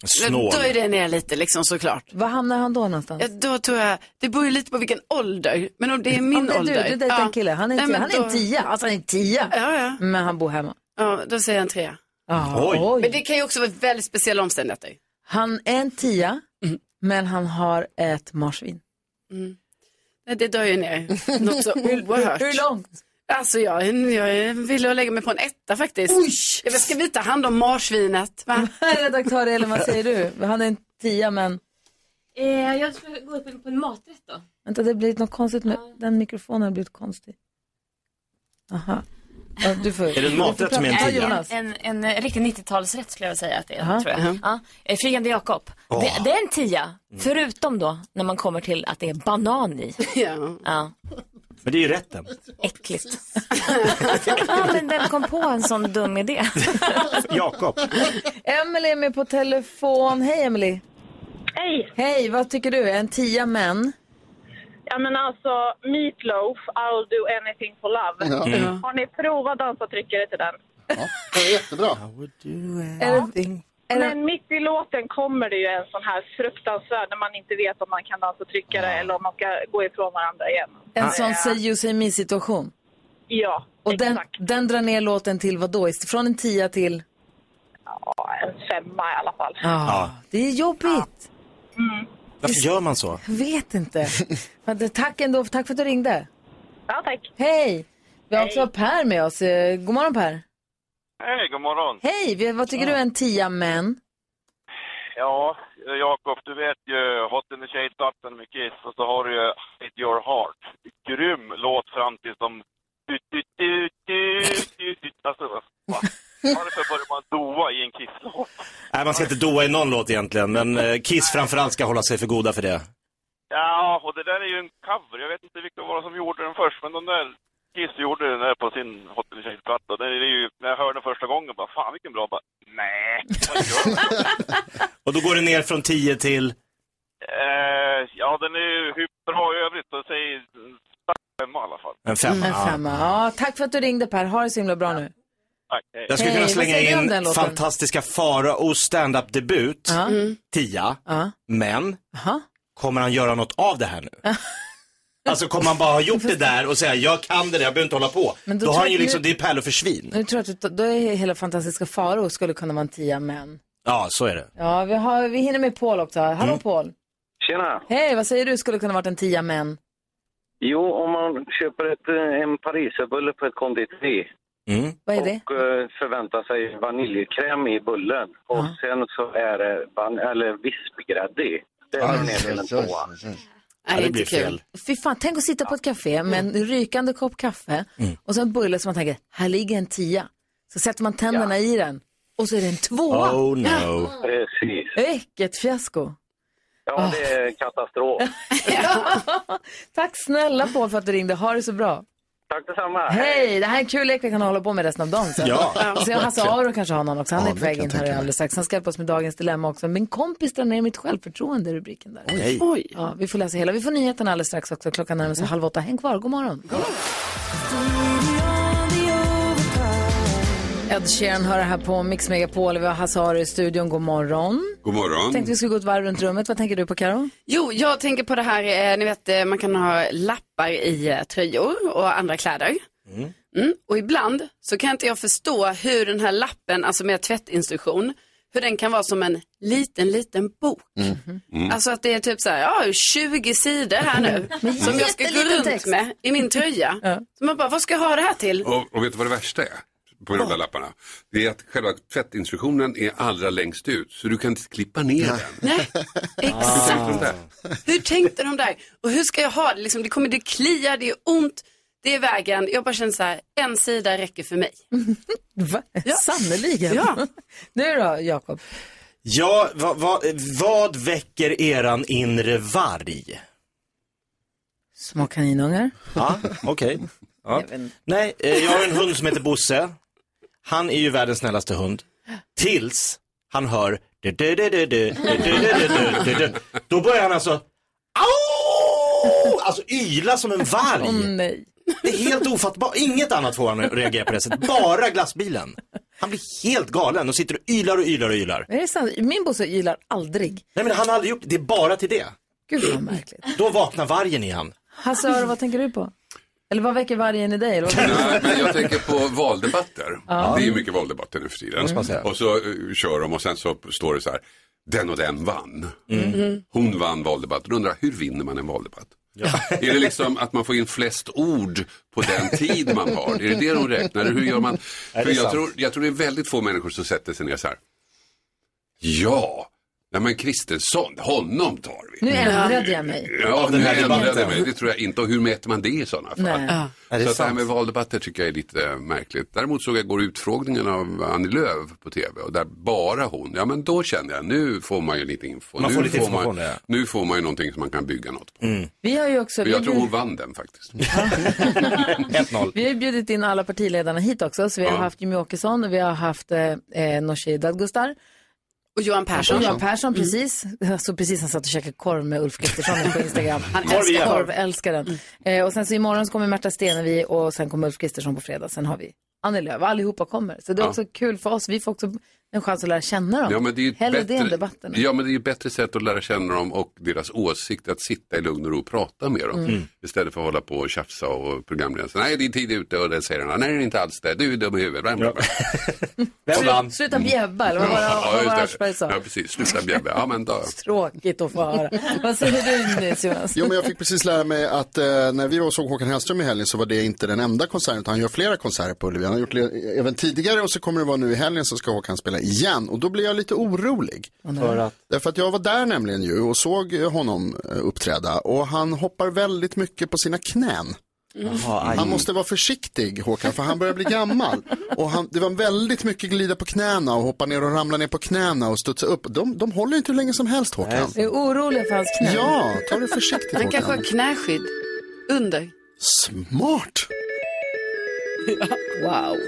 Speaker 7: Snål.
Speaker 3: Då är det ner lite liksom såklart.
Speaker 1: Var hamnar han då någonstans?
Speaker 3: Ja, då tror jag, det beror ju lite på vilken ålder. Men om det är min
Speaker 1: Om det är
Speaker 3: ålder.
Speaker 1: Du, du dejtar en kille, han är, en
Speaker 3: Nej,
Speaker 1: tia.
Speaker 3: men
Speaker 1: han är en
Speaker 3: då-
Speaker 1: tia. Alltså han är en tia.
Speaker 3: Ja, ja.
Speaker 1: Men han bor hemma.
Speaker 3: Ja, då säger jag en trea.
Speaker 1: Ah, oj.
Speaker 3: Men det kan ju också vara väldigt speciella omständigheter.
Speaker 1: Han är en tia, men han har ett marsvin.
Speaker 3: Mm. Nej, det dör ju ner något så oerhört.
Speaker 1: hur långt?
Speaker 3: Alltså jag, jag ville lägga mig på en etta faktiskt. Jag vet, ska vi ta hand om marsvinet? Va?
Speaker 1: Redaktör Elin, vad säger du? Han är en tia, men...
Speaker 10: Eh, jag ska gå upp på en maträtt då.
Speaker 1: Vänta, det har blivit något konstigt med... Den mikrofonen har blivit konstig. Aha. Ja, du får...
Speaker 7: Är det en
Speaker 1: du
Speaker 7: maträtt
Speaker 1: får prata-
Speaker 7: som är en tia?
Speaker 1: Ja, Jonas.
Speaker 8: En, en, en riktig 90-talsrätt skulle jag vilja säga att det är,
Speaker 1: Aha.
Speaker 8: tror jag.
Speaker 1: Mhm.
Speaker 8: Ja. Eh, Flygande Jakob.
Speaker 1: Åh.
Speaker 8: Det, det är en tia,
Speaker 7: Mm.
Speaker 8: förutom då när man kommer till att det är banan i.
Speaker 3: ja.
Speaker 8: ja.
Speaker 7: Men det är ju rätten.
Speaker 8: Äckligt. ja, men vem kom på en sån dum idé?
Speaker 7: Jakob.
Speaker 1: Emily är med på telefon. Hej, Emily.
Speaker 15: Hej.
Speaker 1: Hej, vad tycker du? En tia, men?
Speaker 15: Ja men alltså, Meatloaf, I'll do anything for love.
Speaker 1: Ja. Mm.
Speaker 15: Har ni provat dansavtryckare till den?
Speaker 12: Jättebra.
Speaker 1: Är
Speaker 15: Men mitt i låten kommer det ju en sån här fruktansvärd när man inte vet om man kan dansavtryckare eller om man ska gå ifrån varandra igen.
Speaker 1: En
Speaker 15: Eh,
Speaker 1: sån säg you, säg me-situation.
Speaker 15: Ja,
Speaker 1: Och den, den drar ner låten till vad då? Från en tia till?
Speaker 15: en femma i alla fall.
Speaker 1: Ja. Det är jobbigt.
Speaker 7: Varför gör man så?
Speaker 1: Jag vet inte. Men det- tack ändå. Tack för att du ringde.
Speaker 15: Ja, tack.
Speaker 1: Hej! Vi har också Per med oss. Eh, God morgon Per.
Speaker 16: Hej, god morgon.
Speaker 1: Hej! vi- Vad tycker du är en tia men?
Speaker 16: Ja, Jakob, du vet ju Hot in the Shade Button med Kiss och så har du ju Hit Your Heart. Grym låt fram tills de... Du, du, du, du, du, du. Alltså, va? varför börjar man doa i en Kiss-låt?
Speaker 7: Nej, man ska inte doa i någon låt egentligen, men eh, Kiss framförallt ska hålla sig för goda för det.
Speaker 16: Ja, och det där är ju en cover. Jag vet inte vilka var det som gjorde den först, men de där Kiss gjorde den där på sin Hot in the Shade-platta. Det är ju, när jag hörde den första gången, bara fan vilken bra, bara nej, vad gör du?
Speaker 7: Och då går det ner från 10 till...
Speaker 16: Eh, ja, den är ju hur bra i övrigt, så säg en stark femma i alla fall.
Speaker 7: En femma.
Speaker 1: En femma. Ja, tack för att du ringde Per. Ha det så himla bra nu.
Speaker 16: Tack,
Speaker 7: Eh, Jag skulle
Speaker 1: Hej,
Speaker 7: kunna
Speaker 1: vad
Speaker 7: slänga
Speaker 1: säger du om den
Speaker 7: in
Speaker 1: låten?
Speaker 7: fantastiska Faraos standup-debut,
Speaker 1: Ja. Mm.
Speaker 7: tia,
Speaker 1: Ja.
Speaker 7: men
Speaker 1: Aha.
Speaker 7: kommer han göra något av det här nu? Alltså kommer han bara ha gjort det där och säga jag kan det där, jag behöver inte hålla på.
Speaker 1: Men då
Speaker 7: Då,
Speaker 1: tror
Speaker 7: har
Speaker 1: jag Mm.
Speaker 7: han ju
Speaker 1: att nu-
Speaker 7: liksom, det är pärlor för svin.
Speaker 1: Nu tror jag att du, då är hela fantastiska Faro skulle kunna vara en tia men.
Speaker 7: Ja, så är det.
Speaker 1: Ja, vi, har, vi hinner med Paul också. Hallå
Speaker 7: Mm.
Speaker 1: Paul.
Speaker 17: Tjena!
Speaker 1: Hej, vad säger du skulle kunna varit en tia men?
Speaker 17: Jo, om man köper ett, eh, en pariserbulle på ett konditori Mm.
Speaker 1: Vad är det?
Speaker 17: och eh, förväntar sig vaniljkräm i bullen och sen så är det van- eller vispgrädde i. Det är ner till en tvåa.
Speaker 3: Nej, det blir fel.
Speaker 1: Fy fan, tänk att sitta på ett café med en rykande kopp kaffe och så en bulle som man tänker, här ligger en tia. Så sätter man tänderna i den och så är det en tvåa.
Speaker 17: Oh, no.
Speaker 1: Ja.
Speaker 17: Precis.
Speaker 1: Vilket fiasko.
Speaker 17: Ja, det är katastrof.
Speaker 1: Tack snälla Paul för att du ringde. Ha det så bra.
Speaker 17: Tack detsamma.
Speaker 1: Hej, det här är en kul lek vi kan hålla på med resten av dagen. sen.
Speaker 17: Ja.
Speaker 1: Och se om Hasse
Speaker 17: Verkligen.
Speaker 1: Aro kanske har någon också. Han
Speaker 17: Ja,
Speaker 1: är på
Speaker 17: det
Speaker 1: väg
Speaker 17: kan
Speaker 1: in
Speaker 17: jag
Speaker 1: här
Speaker 17: tänka mig.
Speaker 1: alldeles strax. Han ska hjälpa oss med dagens dilemma också. Min kompis drar ner mitt självförtroende i rubriken där.
Speaker 7: Oj.
Speaker 1: Ja, vi får läsa hela. Vi får nyheterna alldeles strax också. Klockan närmar
Speaker 17: Mm.
Speaker 1: sig halv åtta. Häng kvar. God morgon. Ed Sheeran hör det här på Mix Megapol. Vi har Hasse Aro i studion. God morgon.
Speaker 18: God morgon.
Speaker 1: Tänkte vi skulle gå ett varv runt rummet. Vad tänker du på Karo?
Speaker 3: Jo, jag tänker på det här, eh, ni vet eh, man kan ha lappar i eh, tröjor och andra kläder. Mm. Och ibland så kan inte jag förstå hur den här lappen, alltså med tvättinstruktion, hur den kan vara som en liten, liten bok.
Speaker 1: Mm.
Speaker 3: Alltså att det är typ så här, ja, 20 sidor här nu.
Speaker 6: Men
Speaker 3: som jag ska gå
Speaker 6: jätteliten
Speaker 3: runt
Speaker 6: text.
Speaker 3: med i min tröja. Så man bara, vad ska jag ha det här till?
Speaker 18: Och, och vet du vad det värsta är? På de där lapparna. Det är att själva tvättinstruktionen är allra längst ut. Så du kan inte klippa ner den.
Speaker 3: Nej,
Speaker 18: Hur tänkte
Speaker 3: exakt.
Speaker 18: de där?
Speaker 3: Hur tänkte de där? Och hur ska jag ha det? Liksom, det kommer, det kliar, det är ont, det är vägen. Jag bara känner så här, en sida räcker för mig.
Speaker 1: Va? Sannerligen.
Speaker 3: Ja.
Speaker 1: Nu då, Jakob?
Speaker 7: Ja, vad, vad, vad väcker eran inre varg?
Speaker 1: Små kaninungar.
Speaker 7: Ja, okej. Ja. Nej, eh, jag har en hund som heter Bosse. Han är ju världens snällaste hund. Tills han hör du, du, du, du, du, du, du, du, du, du, du. Då börjar han alltså Au! Alltså yla som en varg.
Speaker 1: nej.
Speaker 7: Det är helt ofattbart. Inget annat får han att reagera på det sättet. Bara glassbilen. Han blir helt galen och sitter och ylar och ylar och ylar.
Speaker 1: Är det sant? Min Bosse ylar aldrig.
Speaker 7: Nej men han har aldrig gjort det, det är bara till det.
Speaker 1: Gud vad märkligt.
Speaker 7: Då vaknar vargen i han.
Speaker 1: Hasse Aro, vad tänker du på? Eller vad väcker vargen i dig? Eller vad
Speaker 18: Nej, men jag tänker på valdebatter.
Speaker 1: Ja.
Speaker 18: Det är ju mycket valdebatter nu för tiden.
Speaker 1: Måste man säga.
Speaker 18: Och så eh, kör de och sen så står det så här, den och den vann.
Speaker 19: 嗯 Mm.
Speaker 18: Hon vann valdebatten. Då undrar jag, hur vinner man en valdebatt? Är det liksom att man får in flest ord på den tid man har? Är det det de räknar? Eller Hur gör man?
Speaker 19: det är
Speaker 18: För jag,
Speaker 19: sant.
Speaker 18: tror, jag tror det är väldigt få människor som sätter sig ner så här. Ja, nej men Kristensson, honom tar vi.
Speaker 1: Nu ändrade jag mig.
Speaker 18: Ja, den här
Speaker 1: debatten.
Speaker 18: ändrade mig. Det tror jag inte. Och hur mäter man det i sådana fall?
Speaker 1: Nej. Ja.
Speaker 18: Så att det här med valdebatter tycker jag är lite eh, märkligt. Däremot såg jag går utfrågningen av Annie Lööf på tv och där bara hon, ja men då kände jag nu får man ju lite info.
Speaker 7: Man
Speaker 18: nu
Speaker 7: får lite information, Mm.
Speaker 18: man, Nu får man ju någonting som man kan bygga något på.
Speaker 1: Vi har ju också...
Speaker 18: Och
Speaker 1: vi har
Speaker 18: jag tror hon
Speaker 1: bjudit-
Speaker 18: vann den faktiskt.
Speaker 7: 1-0.
Speaker 1: Vi har ju bjudit in alla partiledarna hit också, så vi har
Speaker 18: Ja.
Speaker 1: haft Jimmie Åkesson och vi har haft eh, eh, Nooshi Dadgostar.
Speaker 3: Och Johan Persson. Mm.
Speaker 1: Och Johan Persson, precis. Mm. Så precis han satt och käkade korv med Ulf Kristersson på Instagram.
Speaker 3: Han
Speaker 1: Korv
Speaker 3: älskar
Speaker 1: igen.
Speaker 3: korv. Mm.
Speaker 1: korv. älskar den. Eh, och sen så imorgon så kommer Märta Stenevi och sen kommer Ulf Kristersson på fredag. Sen har vi Annie Lööf. Allihopa kommer. Så det är
Speaker 18: Ja.
Speaker 1: också kul för oss. Vi får också en chans att lära känna dem.
Speaker 18: Ja men, det är ju ett
Speaker 1: Hellre det än
Speaker 18: bättre,
Speaker 1: debatten.
Speaker 18: ja men det är ju ett bättre sätt att lära känna dem och deras åsikt att sitta i lugn och ro och prata med dem.
Speaker 1: Mm.
Speaker 18: Istället för att hålla på och tjafsa och programledaren säger nej din tid är ute och den säger han nej det är inte alls det, du är dum i huvudet. Bla, bla, bla.
Speaker 1: Slut- Sluta bjäbba, eller vad var det-
Speaker 18: Ja,
Speaker 1: vad var
Speaker 18: just
Speaker 1: det
Speaker 18: det.
Speaker 1: Aschberg sa?
Speaker 18: Ja precis, sluta bjäbba. Ja men då.
Speaker 1: Tråkigt att få höra. Vad säger du Nils Jonas?
Speaker 12: Jo, men jag fick precis lära mig att eh, när vi var och såg Håkan Hellström i helgen så var det inte den enda konserten, utan han gör flera konserter på Ullevi. Han har gjort le- även tidigare och så kommer det vara nu i helgen så ska Håkan spela igen. Och då blir jag lite orolig.
Speaker 1: nej. För att?
Speaker 12: Därför att jag var där nämligen ju och såg eh, honom eh, uppträda och han hoppar väldigt mycket på sina knän.
Speaker 4: Mm.
Speaker 7: Jaha, aj.
Speaker 12: Han måste vara försiktig Håkan, för han börjar bli gammal. Och han, det var väldigt mycket glida på knäna och hoppa ner och ramla ner på knäna och studsa upp. De, de håller inte hur länge som helst Håkan.
Speaker 1: Jag är orolig för hans knä.
Speaker 12: Ja, ta det försiktigt
Speaker 3: Han kanske
Speaker 12: Håkan.
Speaker 3: har knäskydd under.
Speaker 12: Smart!
Speaker 1: Wow.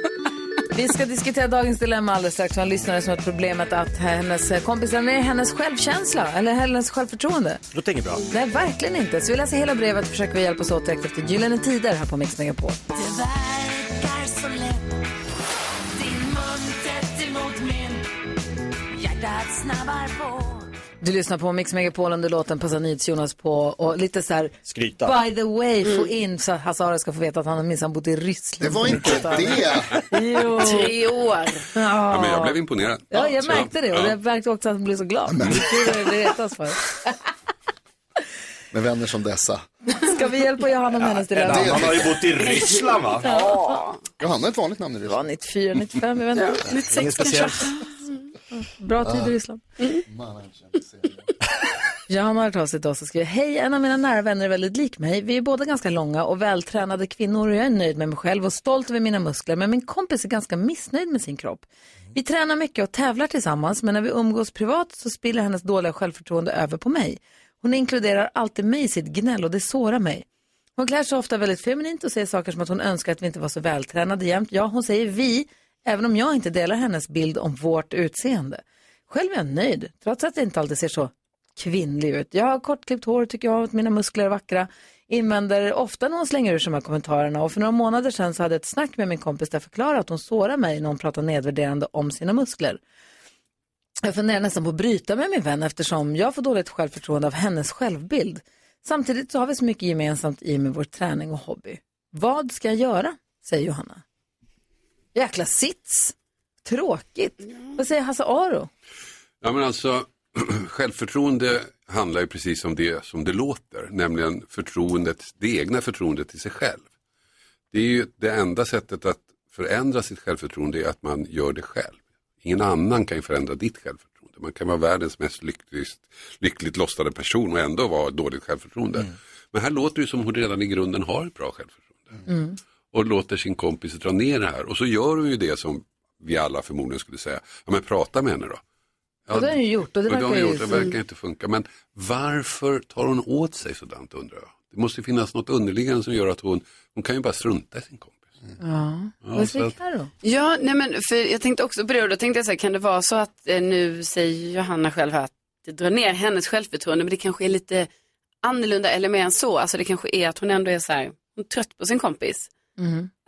Speaker 1: Vi ska diskutera dagens dilemma alldeles strax. Vi har en lyssnare som har problemet att hennes kompis lämnar ner hennes självkänsla eller hennes självförtroende.
Speaker 7: Då tänker bra.
Speaker 1: Nej, verkligen inte. Så vi läser hela brevet och försöker vi hjälpas åt direkt efter Gyllene Tider här på Mix på.
Speaker 6: Det verkar så lätt Din mun tätt emot min Hjärtat snabbar på
Speaker 1: Du lyssnar på Mix Megapol under låten Passa Jonas på och lite så här
Speaker 7: Skryta.
Speaker 1: by the way
Speaker 18: Mm.
Speaker 1: få in så att Hasse Aro ska få veta att han minsann bott i Ryssland. Det var inte
Speaker 12: det.
Speaker 1: Jo.
Speaker 3: Tre år.
Speaker 18: Ja, men jag blev imponerad.
Speaker 1: Ja, jag
Speaker 18: Så-
Speaker 1: märkte det och
Speaker 18: ja.
Speaker 1: jag märkte också att han blev så glad. Det är kul att det retas för.
Speaker 12: Med vänner som dessa.
Speaker 1: Ska vi hjälpa Johanna med hennes dilemma? Ja.
Speaker 12: Johanna är ett vanligt namn i Ryssland.
Speaker 1: 94, 95, jag vet inte. 96 kanske. Mm. Bra tid i Ryssland.
Speaker 4: Mm.
Speaker 1: Johanna har hört av sig till oss och skriver, hej, en av mina nära vänner är väldigt lik mig. Vi är båda ganska långa och vältränade kvinnor och jag är nöjd med mig själv och stolt över mina muskler. Men min kompis är ganska missnöjd med sin kropp. Vi tränar mycket och tävlar tillsammans, men när vi umgås privat så spiller hennes dåliga självförtroende över på mig. Hon inkluderar alltid mig i sitt gnäll och det sårar mig. Hon klär sig ofta väldigt feminint och säger saker som att hon önskar att vi inte var så vältränade jämt. Ja, hon säger vi, även om jag inte delar hennes bild om vårt utseende. Själv är jag nöjd, trots att jag inte alltid ser så kvinnlig ut. Jag har kortklippt hår, tycker jag, och mina muskler är vackra. Invänder ofta när hon slänger ur sig de här kommentarerna och för några månader sedan så hade jag ett snack med min kompis där jag förklarade att hon sårar mig när hon pratar nedvärderande om sina muskler. Jag funderar nästan på att bryta med min vän eftersom jag får dåligt självförtroende av hennes självbild. Samtidigt så har vi så mycket gemensamt i och med vår träning och hobby. Vad ska jag göra? Säger Johanna. Jäkla sits. Tråkigt. Vad säger Hasse Aro?
Speaker 18: Ja, men alltså, självförtroende handlar ju precis om det som det låter, nämligen förtroendet, det egna förtroendet till sig själv. Det är ju det enda sättet att förändra sitt självförtroende är att man gör det själv. Ingen annan kan ju förändra ditt självförtroende. Man kan vara världens mest lyckligt, lyckligt lottade person och ändå vara dåligt självförtroende.
Speaker 1: Mm.
Speaker 18: Men här låter det ju som hon redan i grunden har ett bra självförtroende
Speaker 1: Mm.
Speaker 18: och låter sin kompis dra ner det här. Och så gör hon ju det som vi alla förmodligen skulle säga, ja men prata med henne då.
Speaker 1: Ja, det har hon ju gjort och det
Speaker 18: har hon
Speaker 1: verkar ju
Speaker 18: gjort, det verkar
Speaker 1: fun-
Speaker 18: inte funka. Men varför tar hon åt sig sådant undrar jag. Det måste ju finnas något underliggande som gör att hon, hon kan ju bara strunta i sin kompis.
Speaker 1: Ja.
Speaker 18: Ja, Vad säger så att-
Speaker 1: Carro?
Speaker 3: Ja, nej men för jag tänkte också på det och då tänkte jag så här, kan det vara så att eh, nu säger Johanna själv här att det drar ner hennes självförtroende men det kanske är lite annorlunda eller mer än så. Alltså det kanske är att hon ändå är så här, hon är trött på sin kompis.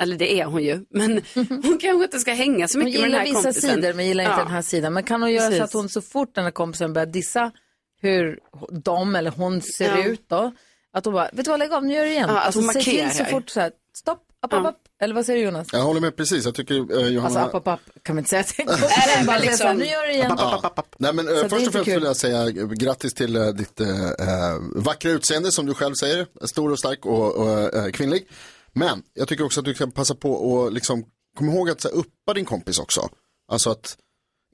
Speaker 3: Eller det är hon ju, men hon kanske inte ska hänga så
Speaker 1: Hon
Speaker 3: mycket med den
Speaker 1: gillar
Speaker 3: här
Speaker 1: vissa
Speaker 3: kompisen.
Speaker 1: sidor men gillar inte
Speaker 3: Ja.
Speaker 1: den här sidan. Men kan hon göra så
Speaker 3: Precis.
Speaker 1: att hon så fort den här kompisen börjar dissa hur de eller hon ser
Speaker 3: Ja.
Speaker 1: ut då, att hon bara, vet du vad, lägg av, nu gör du det igen.
Speaker 3: Ja, att
Speaker 1: alltså,
Speaker 3: hon
Speaker 1: säg till så
Speaker 3: markerar.
Speaker 1: fort så här, stopp, app, app, app. Eller vad säger du Jonas?
Speaker 12: Jag håller med precis. Jag tycker eh, Johanna...
Speaker 1: Alltså app, app, app, kan man inte säga till en kompis.
Speaker 3: Nej,
Speaker 1: Bara
Speaker 3: men
Speaker 1: säga så här,
Speaker 3: liksom-
Speaker 1: Nu gör du det igen.
Speaker 12: Ja. Nej, men, eh,
Speaker 1: Så det är
Speaker 12: först och
Speaker 1: inte
Speaker 12: främst
Speaker 1: kul.
Speaker 12: vill jag säga eh, grattis till eh, ditt eh, eh, vackra utseende som du själv säger. Stor och stark och, och eh, kvinnlig. Men jag tycker också att du kan passa på och liksom, kom ihåg att så här, uppa din kompis också. Alltså att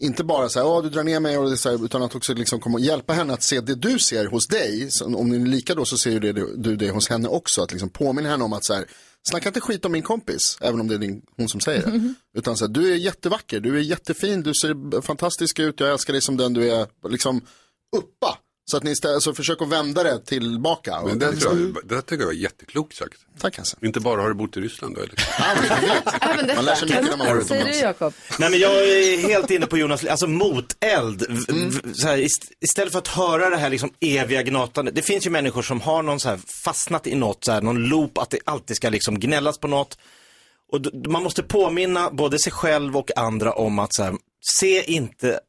Speaker 12: inte bara säga att du drar ner mig och det, så här, utan att också liksom komma och hjälpa henne att se det du ser hos dig. Så, om ni är lika då så ser ju det, du det hos henne också. Att liksom påminna henne om att så här, snacka inte skit om min kompis, även om det är din, hon som säger det. Utan så här, du är jättevacker, du är jättefin, du ser fantastisk ut, jag älskar dig som den du är. Liksom uppa, så att ni istället, alltså, försök att vända det tillbaka. Och
Speaker 18: Men det,
Speaker 12: liksom,
Speaker 18: tror jag, det där tycker jag var jätteklokt sagt.
Speaker 12: Tack Hasse.
Speaker 18: Inte bara har du bott i Ryssland då eller?
Speaker 1: Även
Speaker 12: Man lär sig mycket när man har
Speaker 1: Vad säger du Jakob?
Speaker 7: Nej men jag är helt inne på Jonas, alltså moteld. V-
Speaker 1: Mm.
Speaker 7: v- Så här, ist- istället för att höra det här liksom eviga gnatandet. Det finns ju människor som har någon så här fastnat i något, så här, någon loop att det alltid ska liksom gnällas på något. Och d- man måste påminna både sig själv och andra om att så här, se inte,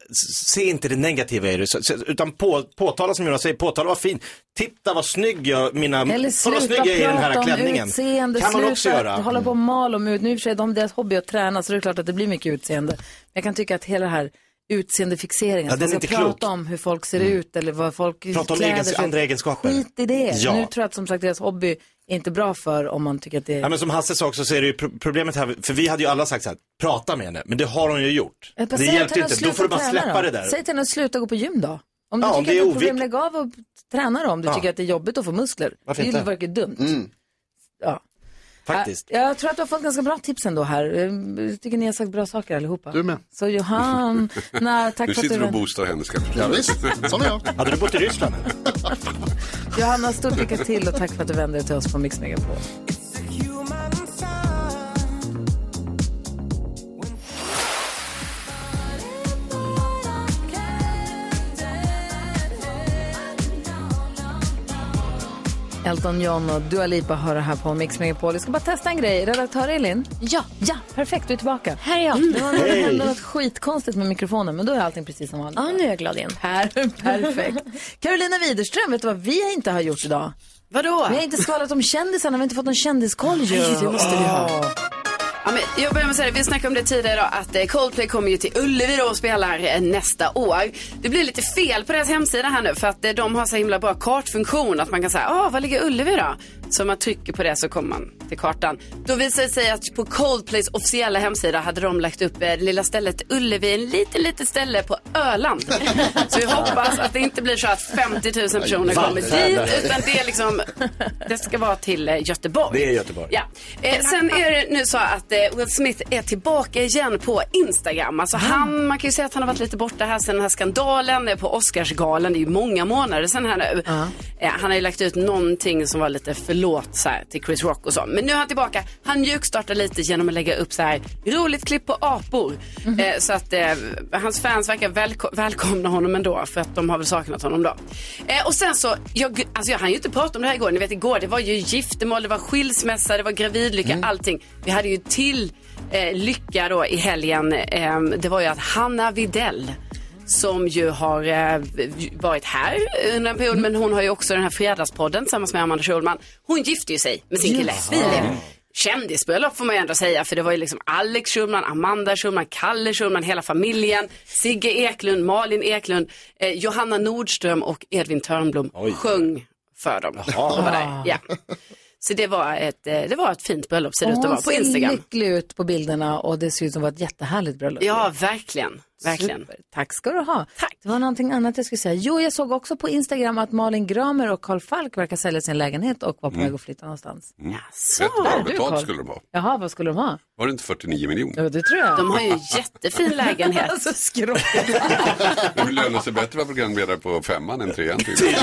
Speaker 7: se inte det negativa i det, så- så- utan på, påtala som Jonas säger, påtala vad fin, titta vad snygg jag, mina,
Speaker 1: Eller
Speaker 7: kolla vad
Speaker 1: sluta
Speaker 7: snygg jag är i den
Speaker 1: prata
Speaker 7: här
Speaker 1: om
Speaker 7: klänningen.
Speaker 1: utseende,
Speaker 7: kan man
Speaker 1: sluta
Speaker 7: också göra. Mm.
Speaker 1: hålla på och mal om ut. Nu i och för sig, de deras hobby att träna så det är klart att det blir mycket utseende. Men jag kan tycka att hela det här utseendefixeringen,
Speaker 7: Ja,
Speaker 1: att
Speaker 7: den
Speaker 1: man
Speaker 7: är
Speaker 1: ska
Speaker 7: inte
Speaker 1: prata
Speaker 7: klok. Mm.
Speaker 1: om hur folk ser ut eller vad folk
Speaker 7: Prata om
Speaker 1: kläder
Speaker 7: egens,
Speaker 1: sig.
Speaker 7: andra egenskaper.
Speaker 1: Skit i det.
Speaker 7: Ja.
Speaker 1: Nu tror jag att som sagt deras hobby är inte bra för om man tycker att det är...
Speaker 7: Ja, men som Hasse sa också så är det ju pro- problemet här, för vi hade ju alla sagt så här, prata med henne, men det har hon ju gjort.
Speaker 1: Jag bara
Speaker 7: Det
Speaker 1: säger till
Speaker 7: hjälpte
Speaker 1: henne att
Speaker 7: inte, då
Speaker 1: sluta
Speaker 7: får du bara
Speaker 1: träna då.
Speaker 7: släppa det där.
Speaker 1: Säg till henne att sluta gå på gym då. Om du
Speaker 7: Ja, om
Speaker 1: tycker
Speaker 7: det är
Speaker 1: att det är problem,
Speaker 7: oviktigt.
Speaker 1: lägg av och träna då om du
Speaker 7: Ja.
Speaker 1: tycker att det är jobbigt att få muskler.
Speaker 7: Varför
Speaker 1: det
Speaker 7: inte? Mm.
Speaker 1: verkar dumt. Ja.
Speaker 7: Faktiskt.
Speaker 1: Äh, Jag tror att du har fått ganska bra tips ändå här. Ehm, Jag tycker ni har sagt bra saker allihopa.
Speaker 12: Du med.
Speaker 1: Så Johan, nej, tack
Speaker 18: du
Speaker 1: för att du
Speaker 18: sitter och
Speaker 1: var
Speaker 18: boostar henne ska jag förstå.
Speaker 12: Ja, visst. Sån är jag.
Speaker 7: Hade du bott i Ryssland?
Speaker 1: Johanna, stort lycka till och tack för att du vände dig till oss på Mix Megapol. Elton John och Dua Lipa hör det här på Mix Megapol. Vi ska bara testa en grej. Redaktör Elin? Ja. Ja, perfekt. Du är tillbaka. Här är jag. Det var det
Speaker 8: Hej.
Speaker 1: hände något skitkonstigt med mikrofonen, men då är allting precis som vanligt.
Speaker 8: Ja, nu är jag glad igen.
Speaker 1: Per, perfekt. Carolina Widerström, vet du vad vi inte har gjort idag?
Speaker 3: Vadå?
Speaker 1: Vi har inte skvallrat om kändisarna, vi har inte fått någon kändiskoll ju.
Speaker 3: Nej, det måste vi ha.
Speaker 1: Åh.
Speaker 3: Ja, men jag börjar med att säga, det, vi snackade om det tidigare idag, att eh, Coldplay kommer ju till Ullevi då och spelar eh, nästa år. Det blir lite fel på deras hemsida här nu för att eh, de har så himla bra kartfunktion att man kan säga, ah, var ligger Ullevi då? Så man trycker på det så kommer man till kartan. Då visar det sig att på Coldplays officiella hemsida hade de lagt upp eh, det lilla stället Ullevi, en liten, litet ställe på Öland. Så vi hoppas att det inte blir så att 50 000 personer kommer dit utan det är liksom, det ska vara till eh, Göteborg.
Speaker 7: Det är Göteborg.
Speaker 3: Ja. Eh, sen är det nu så att eh, Will Smith är tillbaka igen på Instagram. Alltså han, man kan ju säga att han har varit lite borta här sen den här skandalen eh, på Oscarsgalan. Det är ju många månader sen här nu. Eh, han har ju lagt ut någonting som var lite förlåt så här, till Chris Rock och så. Men nu är han tillbaka. Han mjukstartar lite genom att lägga upp så här roligt klipp på apor. eh, så att eh, hans fans verkar välko- välkomna honom ändå för att de har väl saknat honom då. Eh, och sen så, jag, alltså jag hann ju inte prata om det här igår. Ni vet igår, det var ju giftermål, det var skilsmässa, det var gravidlycka, allting. Vi hade ju till eh, lycka då i helgen. Eh, det var ju att Hanna Videll som ju har eh, varit här under en period, men hon har ju också den här Fredagspodden tillsammans med Amanda Schulman. Hon gifte ju sig med sin kille
Speaker 8: Jaha.
Speaker 3: Filip. Kändisbröllop får man ju ändå säga, för det var ju liksom Alex Schulman, Amanda Schulman, Kalle Schulman, hela familjen, Sigge Eklund, Malin Eklund, eh, Johanna Nordström och Edvin Törnblom sjöng för dem. De var där. Ja. Så det var, ett, eh, det var ett fint bröllop ser det ut att
Speaker 1: Hon
Speaker 3: vara på
Speaker 1: ser
Speaker 3: Instagram.
Speaker 1: lycklig ut på bilderna och det ser ut som att vara ett jättehärligt bröllop.
Speaker 3: Ja, verkligen. verkligen.
Speaker 1: Super. Tack ska du ha. Det var någonting annat jag skulle säga. Jo, jag såg också på Instagram att Malin Gramer och Carl Falk verkar sälja sin lägenhet och var på
Speaker 18: Mm.
Speaker 1: väg att flytta någonstans.
Speaker 18: Mm.
Speaker 3: Där
Speaker 18: Rätt bra
Speaker 1: är du,
Speaker 18: betalt
Speaker 1: Carl.
Speaker 18: skulle de ha.
Speaker 1: Jaha, vad skulle de ha?
Speaker 18: Var det inte 49 miljoner?
Speaker 1: Ja, det tror jag.
Speaker 3: De har ju jättefin lägenhet.
Speaker 1: alltså, skrock.
Speaker 18: Det lönar sig bättre att vara programledare på femman än trean tydligen.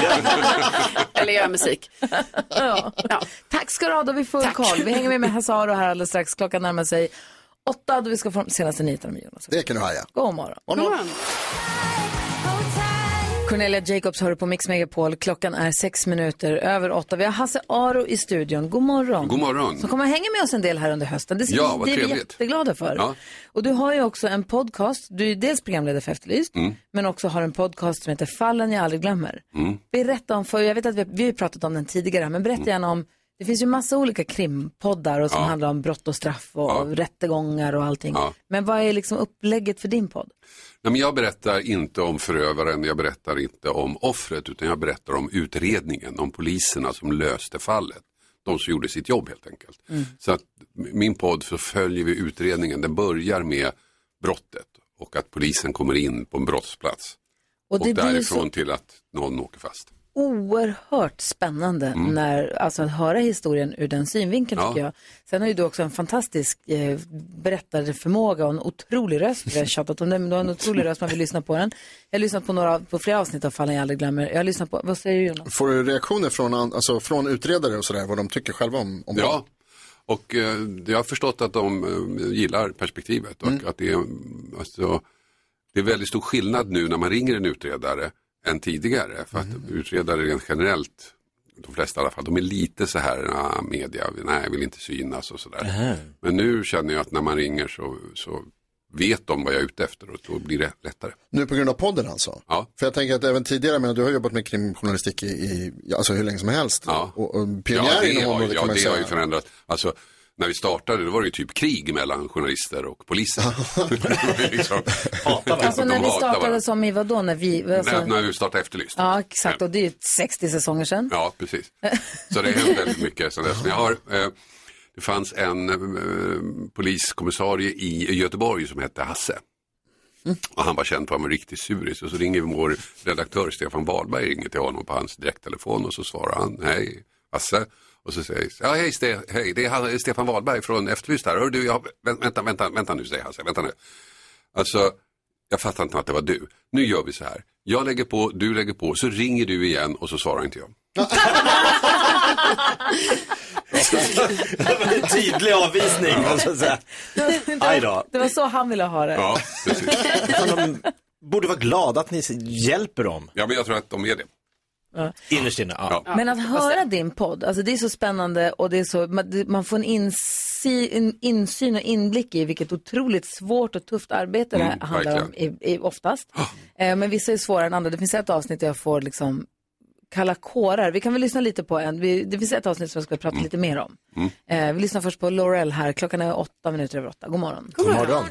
Speaker 3: Eller göra musik.
Speaker 1: ja. Tack ska du ha, då har vi full koll. Vi hänger med med Hasaro här alldeles strax. Klockan närmar sig åtta då vi ska få de senaste nyheterna med Jonas.
Speaker 12: Det kan du haja.
Speaker 1: God morgon.
Speaker 12: God morgon.
Speaker 1: Cornelia Jacobs hör du på Mix Megapol. Klockan är sex minuter över åtta. Vi har Hasse Aro i studion. God morgon.
Speaker 18: God morgon.
Speaker 1: Som kommer att hänga med oss en del här under hösten. Det,
Speaker 18: Ja, vad
Speaker 1: det är vi
Speaker 18: trevligt.
Speaker 1: jätteglada för.
Speaker 18: Ja.
Speaker 1: Och du har ju också en podcast. Du är ju dels programledare för Efterlyst,
Speaker 18: Mm.
Speaker 1: men också har en podcast som heter Fallen jag aldrig glömmer.
Speaker 18: Mm.
Speaker 1: Berätta om, för jag vet att vi, vi har pratat om den tidigare, men berätta gärna om, det finns ju massa olika krimpoddar och som
Speaker 18: Ja.
Speaker 1: handlar om brott och straff och rättegångar och allting.
Speaker 18: Ja.
Speaker 1: Men vad är liksom upplägget för din podd?
Speaker 18: Nej, men jag berättar inte om förövaren, jag berättar inte om offret, utan jag berättar om utredningen, om poliserna som löste fallet. De som gjorde sitt jobb helt enkelt. Så att min podd så följer vi utredningen, den börjar med brottet och att polisen kommer in på en brottsplats.
Speaker 1: Och
Speaker 18: Och,
Speaker 1: det blir ju
Speaker 18: därifrån
Speaker 1: så-
Speaker 18: till att någon åker fast.
Speaker 1: oerhört spännande
Speaker 18: Mm.
Speaker 1: när, alltså att höra historien ur den synvinkeln
Speaker 18: Ja.
Speaker 1: tycker jag. Sen har ju du också en fantastisk eh, berättarförmåga och en otrolig röst. Vi har tjatat om det, men du har en otrolig röst, man vill lyssna på den. Jag har lyssnat på, några, på flera avsnitt av Fallen jag aldrig glömmer. Jag har lyssnat på, vad säger du Jonas?
Speaker 12: Får du reaktioner från, an- alltså, från utredare och sådär, vad de tycker själva om, om
Speaker 18: Ja, och eh, jag har förstått att de eh, gillar perspektivet och att det är, mm, alltså, det är väldigt stor skillnad nu när man ringer en utredare än tidigare. För att utredare rent generellt, de flesta i alla fall, de är lite så här, ah, media, nej jag vill inte synas och sådär. Men nu känner jag att när man ringer så, så vet de vad jag är ute efter och då blir det lättare.
Speaker 12: Nu på grund av podden alltså?
Speaker 18: Ja.
Speaker 12: För jag tänker att även tidigare, men du har jobbat med krimjournalistik i, i ja, alltså hur länge som helst. Och, och pionjär
Speaker 18: ja, det
Speaker 12: inom
Speaker 18: har, ju-
Speaker 12: området
Speaker 18: ja,
Speaker 12: kan man ju
Speaker 18: det har ju
Speaker 12: säga.
Speaker 18: förändrats. Alltså, när vi startade då var det ju typ krig mellan journalister och poliser. liksom,
Speaker 1: Alltså när vi startade som i vadå? När vi, alltså,
Speaker 18: När, när vi startade Efterlyst.
Speaker 1: ja exakt, och det är ju 60 säsonger sedan.
Speaker 18: Ja, precis. Så det har hänt väldigt mycket sedan dess. Men jag har, eh, det fanns en eh, poliskommissarie i Göteborg som hette Hasse. Och han var känd för att vara en riktig suris. Och så ringer vår redaktör Stefan Wahlberg ringer till honom på hans direkttelefon och så svarar han, hej Hasse. Och så säger ja hej, Ste hej det är han- Stefan Wahlberg från Efterlyst här. Hör du, jag, vä- vänta, vänta, vänta nu säger Hasse, vänta nu. Alltså, jag fattar inte att det var du. Nu gör vi så här. Jag lägger på, du lägger på, så ringer du igen och så svarar inte jag.
Speaker 7: En tydlig avvisning. Alltså, så här. Aj då.
Speaker 1: Det var så han ville ha det.
Speaker 18: Ja, precis.
Speaker 7: Borde vara glada att ni hjälper dem.
Speaker 18: Ja, men jag tror att de är det.
Speaker 1: Ja.
Speaker 7: Innerst inne, ja.
Speaker 1: Men att höra din podd, alltså det är så spännande och det är så, man, det- man får en, insi, en insyn och inblick i vilket otroligt svårt och tufft arbete det här
Speaker 6: Mm,
Speaker 1: handlar om i, i, oftast. Eh, men vissa är svårare än andra. Det finns ett avsnitt där jag får liksom kalla kårar. Vi kan väl lyssna lite på en, vi, det finns ett avsnitt som jag ska prata lite mer om.
Speaker 4: Mm.
Speaker 1: Eh, vi lyssnar först på Laurel här, klockan är åtta minuter över åtta. God morgon.
Speaker 12: God morgon.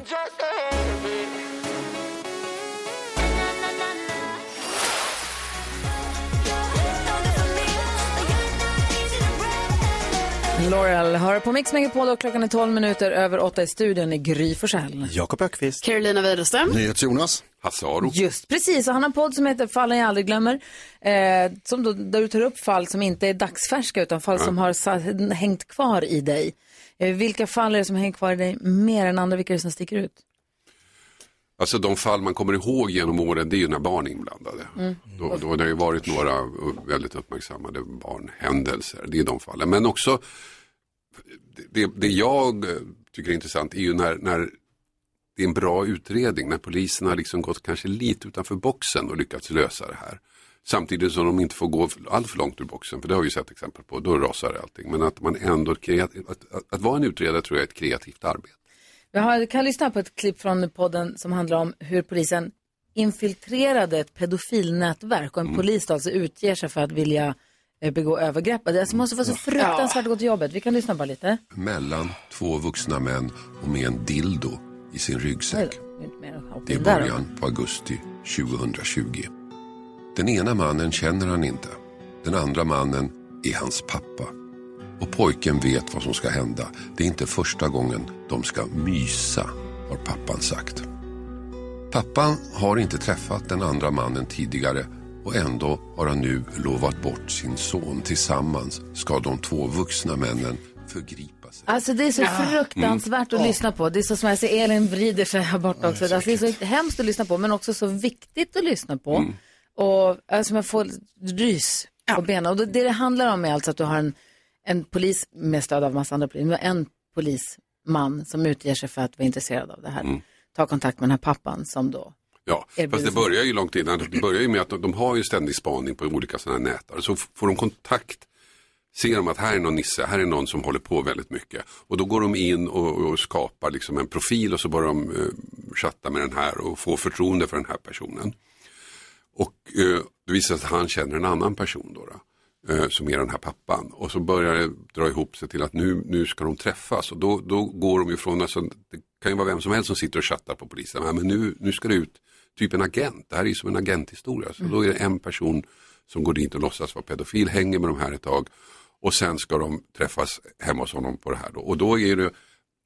Speaker 1: Laurel hör på Mix Megapol och klockan är 12 minuter över åtta i studion i Gry Forssell.
Speaker 7: Jakob Ökvist.
Speaker 3: Carolina Widerström.
Speaker 12: NyhetsJonas.
Speaker 18: Hasse Aro.
Speaker 1: Just precis, och han har en podd som heter Fallen jag aldrig glömmer. Eh, som då, där du tar upp fall som inte är dagsfärska utan fall som har sa- hängt kvar i dig. Eh, vilka fall är det som hänger kvar i dig mer än andra? Vilka är det som sticker ut?
Speaker 18: Alltså de fall man kommer ihåg genom åren, det är ju när barn är inblandade.
Speaker 1: Mm.
Speaker 18: Då, då har det ju varit några eh, väldigt uppmärksammade barnhändelser, det är de fallen. Men också, det, det jag eh, tycker är intressant är ju när, när det är en bra utredning, när polisen har liksom gått kanske lite utanför boxen och lyckats lösa det här. Samtidigt som de inte får gå allt för långt ur boxen, för det har vi ju sett exempel på, då rasar allting. Men att man ändå, kreat- att, att, att vara en utredare tror jag är ett kreativt arbete.
Speaker 1: Vi har, kan lyssna på ett klipp från podden som handlar om hur polisen infiltrerade ett pedofilnätverk och en polis då alltså utger sig för att vilja eh, begå övergrepp. Det alltså måste vara så fruktansvärt att gå till jobbet. Vi kan lyssna bara lite.
Speaker 19: mellan två vuxna män och med en dildo i sin ryggsäck. Det är
Speaker 1: Där då.
Speaker 19: början på augusti 2020. Den ena mannen känner han inte. Den andra mannen är hans pappa. Och pojken vet vad som ska hända. Det är inte första gången de ska mysa, har pappan sagt. Pappan har inte träffat den andra mannen tidigare och ändå har han nu lovat bort sin son. Tillsammans ska de två vuxna männen förgripa
Speaker 18: typ.
Speaker 19: sig.
Speaker 1: Alltså det är så fruktansvärt
Speaker 18: Mm.
Speaker 1: att lyssna på. Det är så som jag ser Elin vrider sig här borta också. Alltså, det är så hemskt att lyssna på men också så viktigt att lyssna på.
Speaker 18: Mm.
Speaker 1: Och alltså man får rys på benen. Och det det det handlar om är alltså att du har en, en polis med stöd av massa andra poliser. Men en
Speaker 18: Mm.
Speaker 1: polisman som utger sig för att vara intresserad av det här. Ta kontakt med den här pappan som då
Speaker 18: Ja, fast det börjar ju långt innan. Det börjar ju med att de, de har ju ständig spaning på olika sådana här nätar. Så f- får de kontakt, ser de att här är någon nisse, här är någon som håller på väldigt mycket. Och då går de in och, och skapar liksom en profil och så börjar de eh, chatta med den här och få förtroende för den här personen. Och eh, det visar sig att han känner en annan person då, då eh, som är den här pappan. Och så börjar det dra ihop sig till att nu, nu ska de träffas. Och då, då går de ifrån, alltså, det kan ju vara vem som helst som sitter och chattar på polisen. Men nu, nu ska det ut typ en agent, det här är ju som en agenthistoria.
Speaker 20: Mm.
Speaker 18: Så då är det en person som går dit och låtsas vara pedofil, hänger med de här ett tag. Och sen ska de träffas hemma hos honom på det här då. Och då är det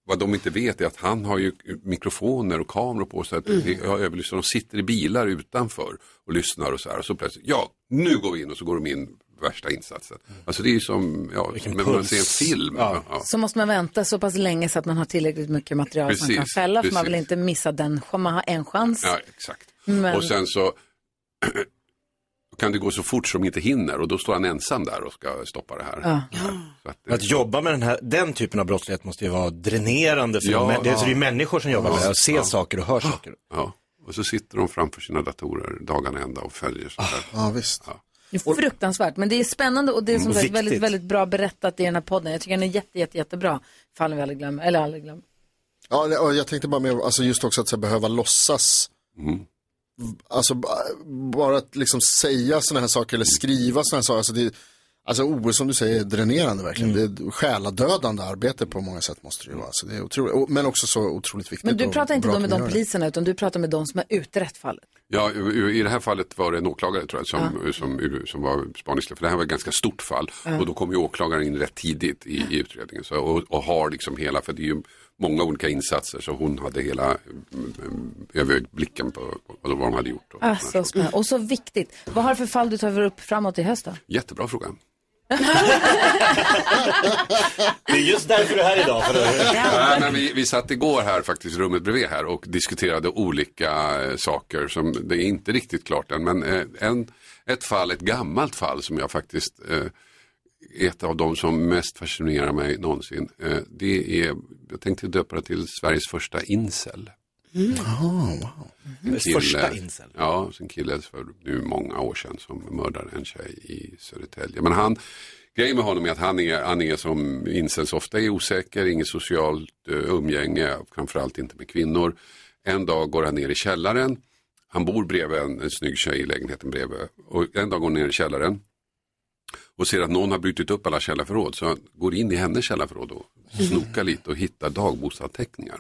Speaker 18: vad de inte vet är att han har ju mikrofoner och kameror på sig. Att
Speaker 11: Mm.
Speaker 18: jag överlyssnar. De sitter i bilar utanför och lyssnar och så här. Och så plötsligt, ja, nu går vi in och så går de in värsta insatsen.
Speaker 1: Mm.
Speaker 18: Alltså det är ju som, ja, men man
Speaker 1: puls.
Speaker 18: ser en film. Ja.
Speaker 1: Så måste man vänta så pass länge så att man har tillräckligt mycket material som man kan
Speaker 18: Precis,
Speaker 1: fälla. För man vill
Speaker 18: precis.
Speaker 1: inte missa den, ch- man har en chans.
Speaker 18: Ja, exakt.
Speaker 1: Men-
Speaker 18: Och sen så kan det gå så fort som de inte hinner och då står han ensam där och ska stoppa det här.
Speaker 1: Ja.
Speaker 7: Att jobba med den, här, den typen av brottslighet måste ju vara dränerande för
Speaker 18: Ja,
Speaker 7: dem. Men det,
Speaker 18: ja.
Speaker 7: så det är ju människor som jobbar med det, och ser
Speaker 18: Ja.
Speaker 7: saker och hör saker.
Speaker 18: Ja. Och så sitter de framför sina datorer dagarna ända och följer sånt där.
Speaker 12: Ja, visst.
Speaker 1: Det är fruktansvärt. Men det är spännande och det är som
Speaker 18: Mm,
Speaker 1: sagt väldigt,
Speaker 18: viktigt.
Speaker 1: väldigt bra berättat i den här podden. Jag tycker den är jätte, jätte, jättebra. Fallen vi aldrig glömmer, eller aldrig glömmer.
Speaker 12: Ja, det- och jag tänkte bara med, alltså just också att så här, behöva låtsas.
Speaker 18: Mm.
Speaker 12: Alltså b- bara att liksom säga sådana här saker eller skriva sådana här saker. Alltså, det, alltså OS som du säger är dränerande verkligen.
Speaker 18: Mm.
Speaker 12: Det är ett själadödande arbete på många sätt måste det ju vara. Alltså, det är otroligt, och, men också så otroligt viktigt.
Speaker 1: Men du
Speaker 12: och
Speaker 1: pratar inte
Speaker 12: bra
Speaker 1: då
Speaker 12: att
Speaker 1: med
Speaker 12: man
Speaker 1: de
Speaker 12: gör det.
Speaker 1: poliserna utan du pratar med de som har utrett fallet.
Speaker 18: Ja, i- i i det här fallet var det en åklagare tror jag som, som, som var spaningsledare. För det här var ett ganska stort fall.
Speaker 1: Ja.
Speaker 18: Och då kom ju åklagaren in rätt tidigt i, i utredningen. Så, och, och har liksom hela, för det är ju många olika insatser. Så hon hade hela mm, mm, överblicken på, på vad de hade gjort.
Speaker 1: Ah, så spännande. Och så viktigt. Vad har du för fall du tar upp framåt i höst då?
Speaker 18: Jättebra fråga.
Speaker 7: Det är just därför du är här idag. För att...
Speaker 18: Nej, men vi, vi satt igår här faktiskt i rummet bredvid här och diskuterade olika eh, saker som det är inte riktigt klart än. Men eh, en, ett fall, ett gammalt fall som jag faktiskt eh, är ett av de som mest fascinerar mig någonsin. Eh, det är, jag tänkte döpa det till Sveriges första incel.
Speaker 12: Mm. Jaha, wow.
Speaker 18: En Ja, en kille för nu många år sedan som mördade en tjej i Södertälje. Men han, grejen med honom är att han är, han är som incels ofta är osäker, inget socialt uh, umgänge, framförallt inte med kvinnor. En dag går han ner i källaren, han bor bredvid en, en snygg tjej i lägenheten bredvid. Och en dag går han ner i källaren och ser att någon har brutit upp alla källarförråd. Så han går in i hennes källarförråd och snokar lite och hittar dagboksanteckningar.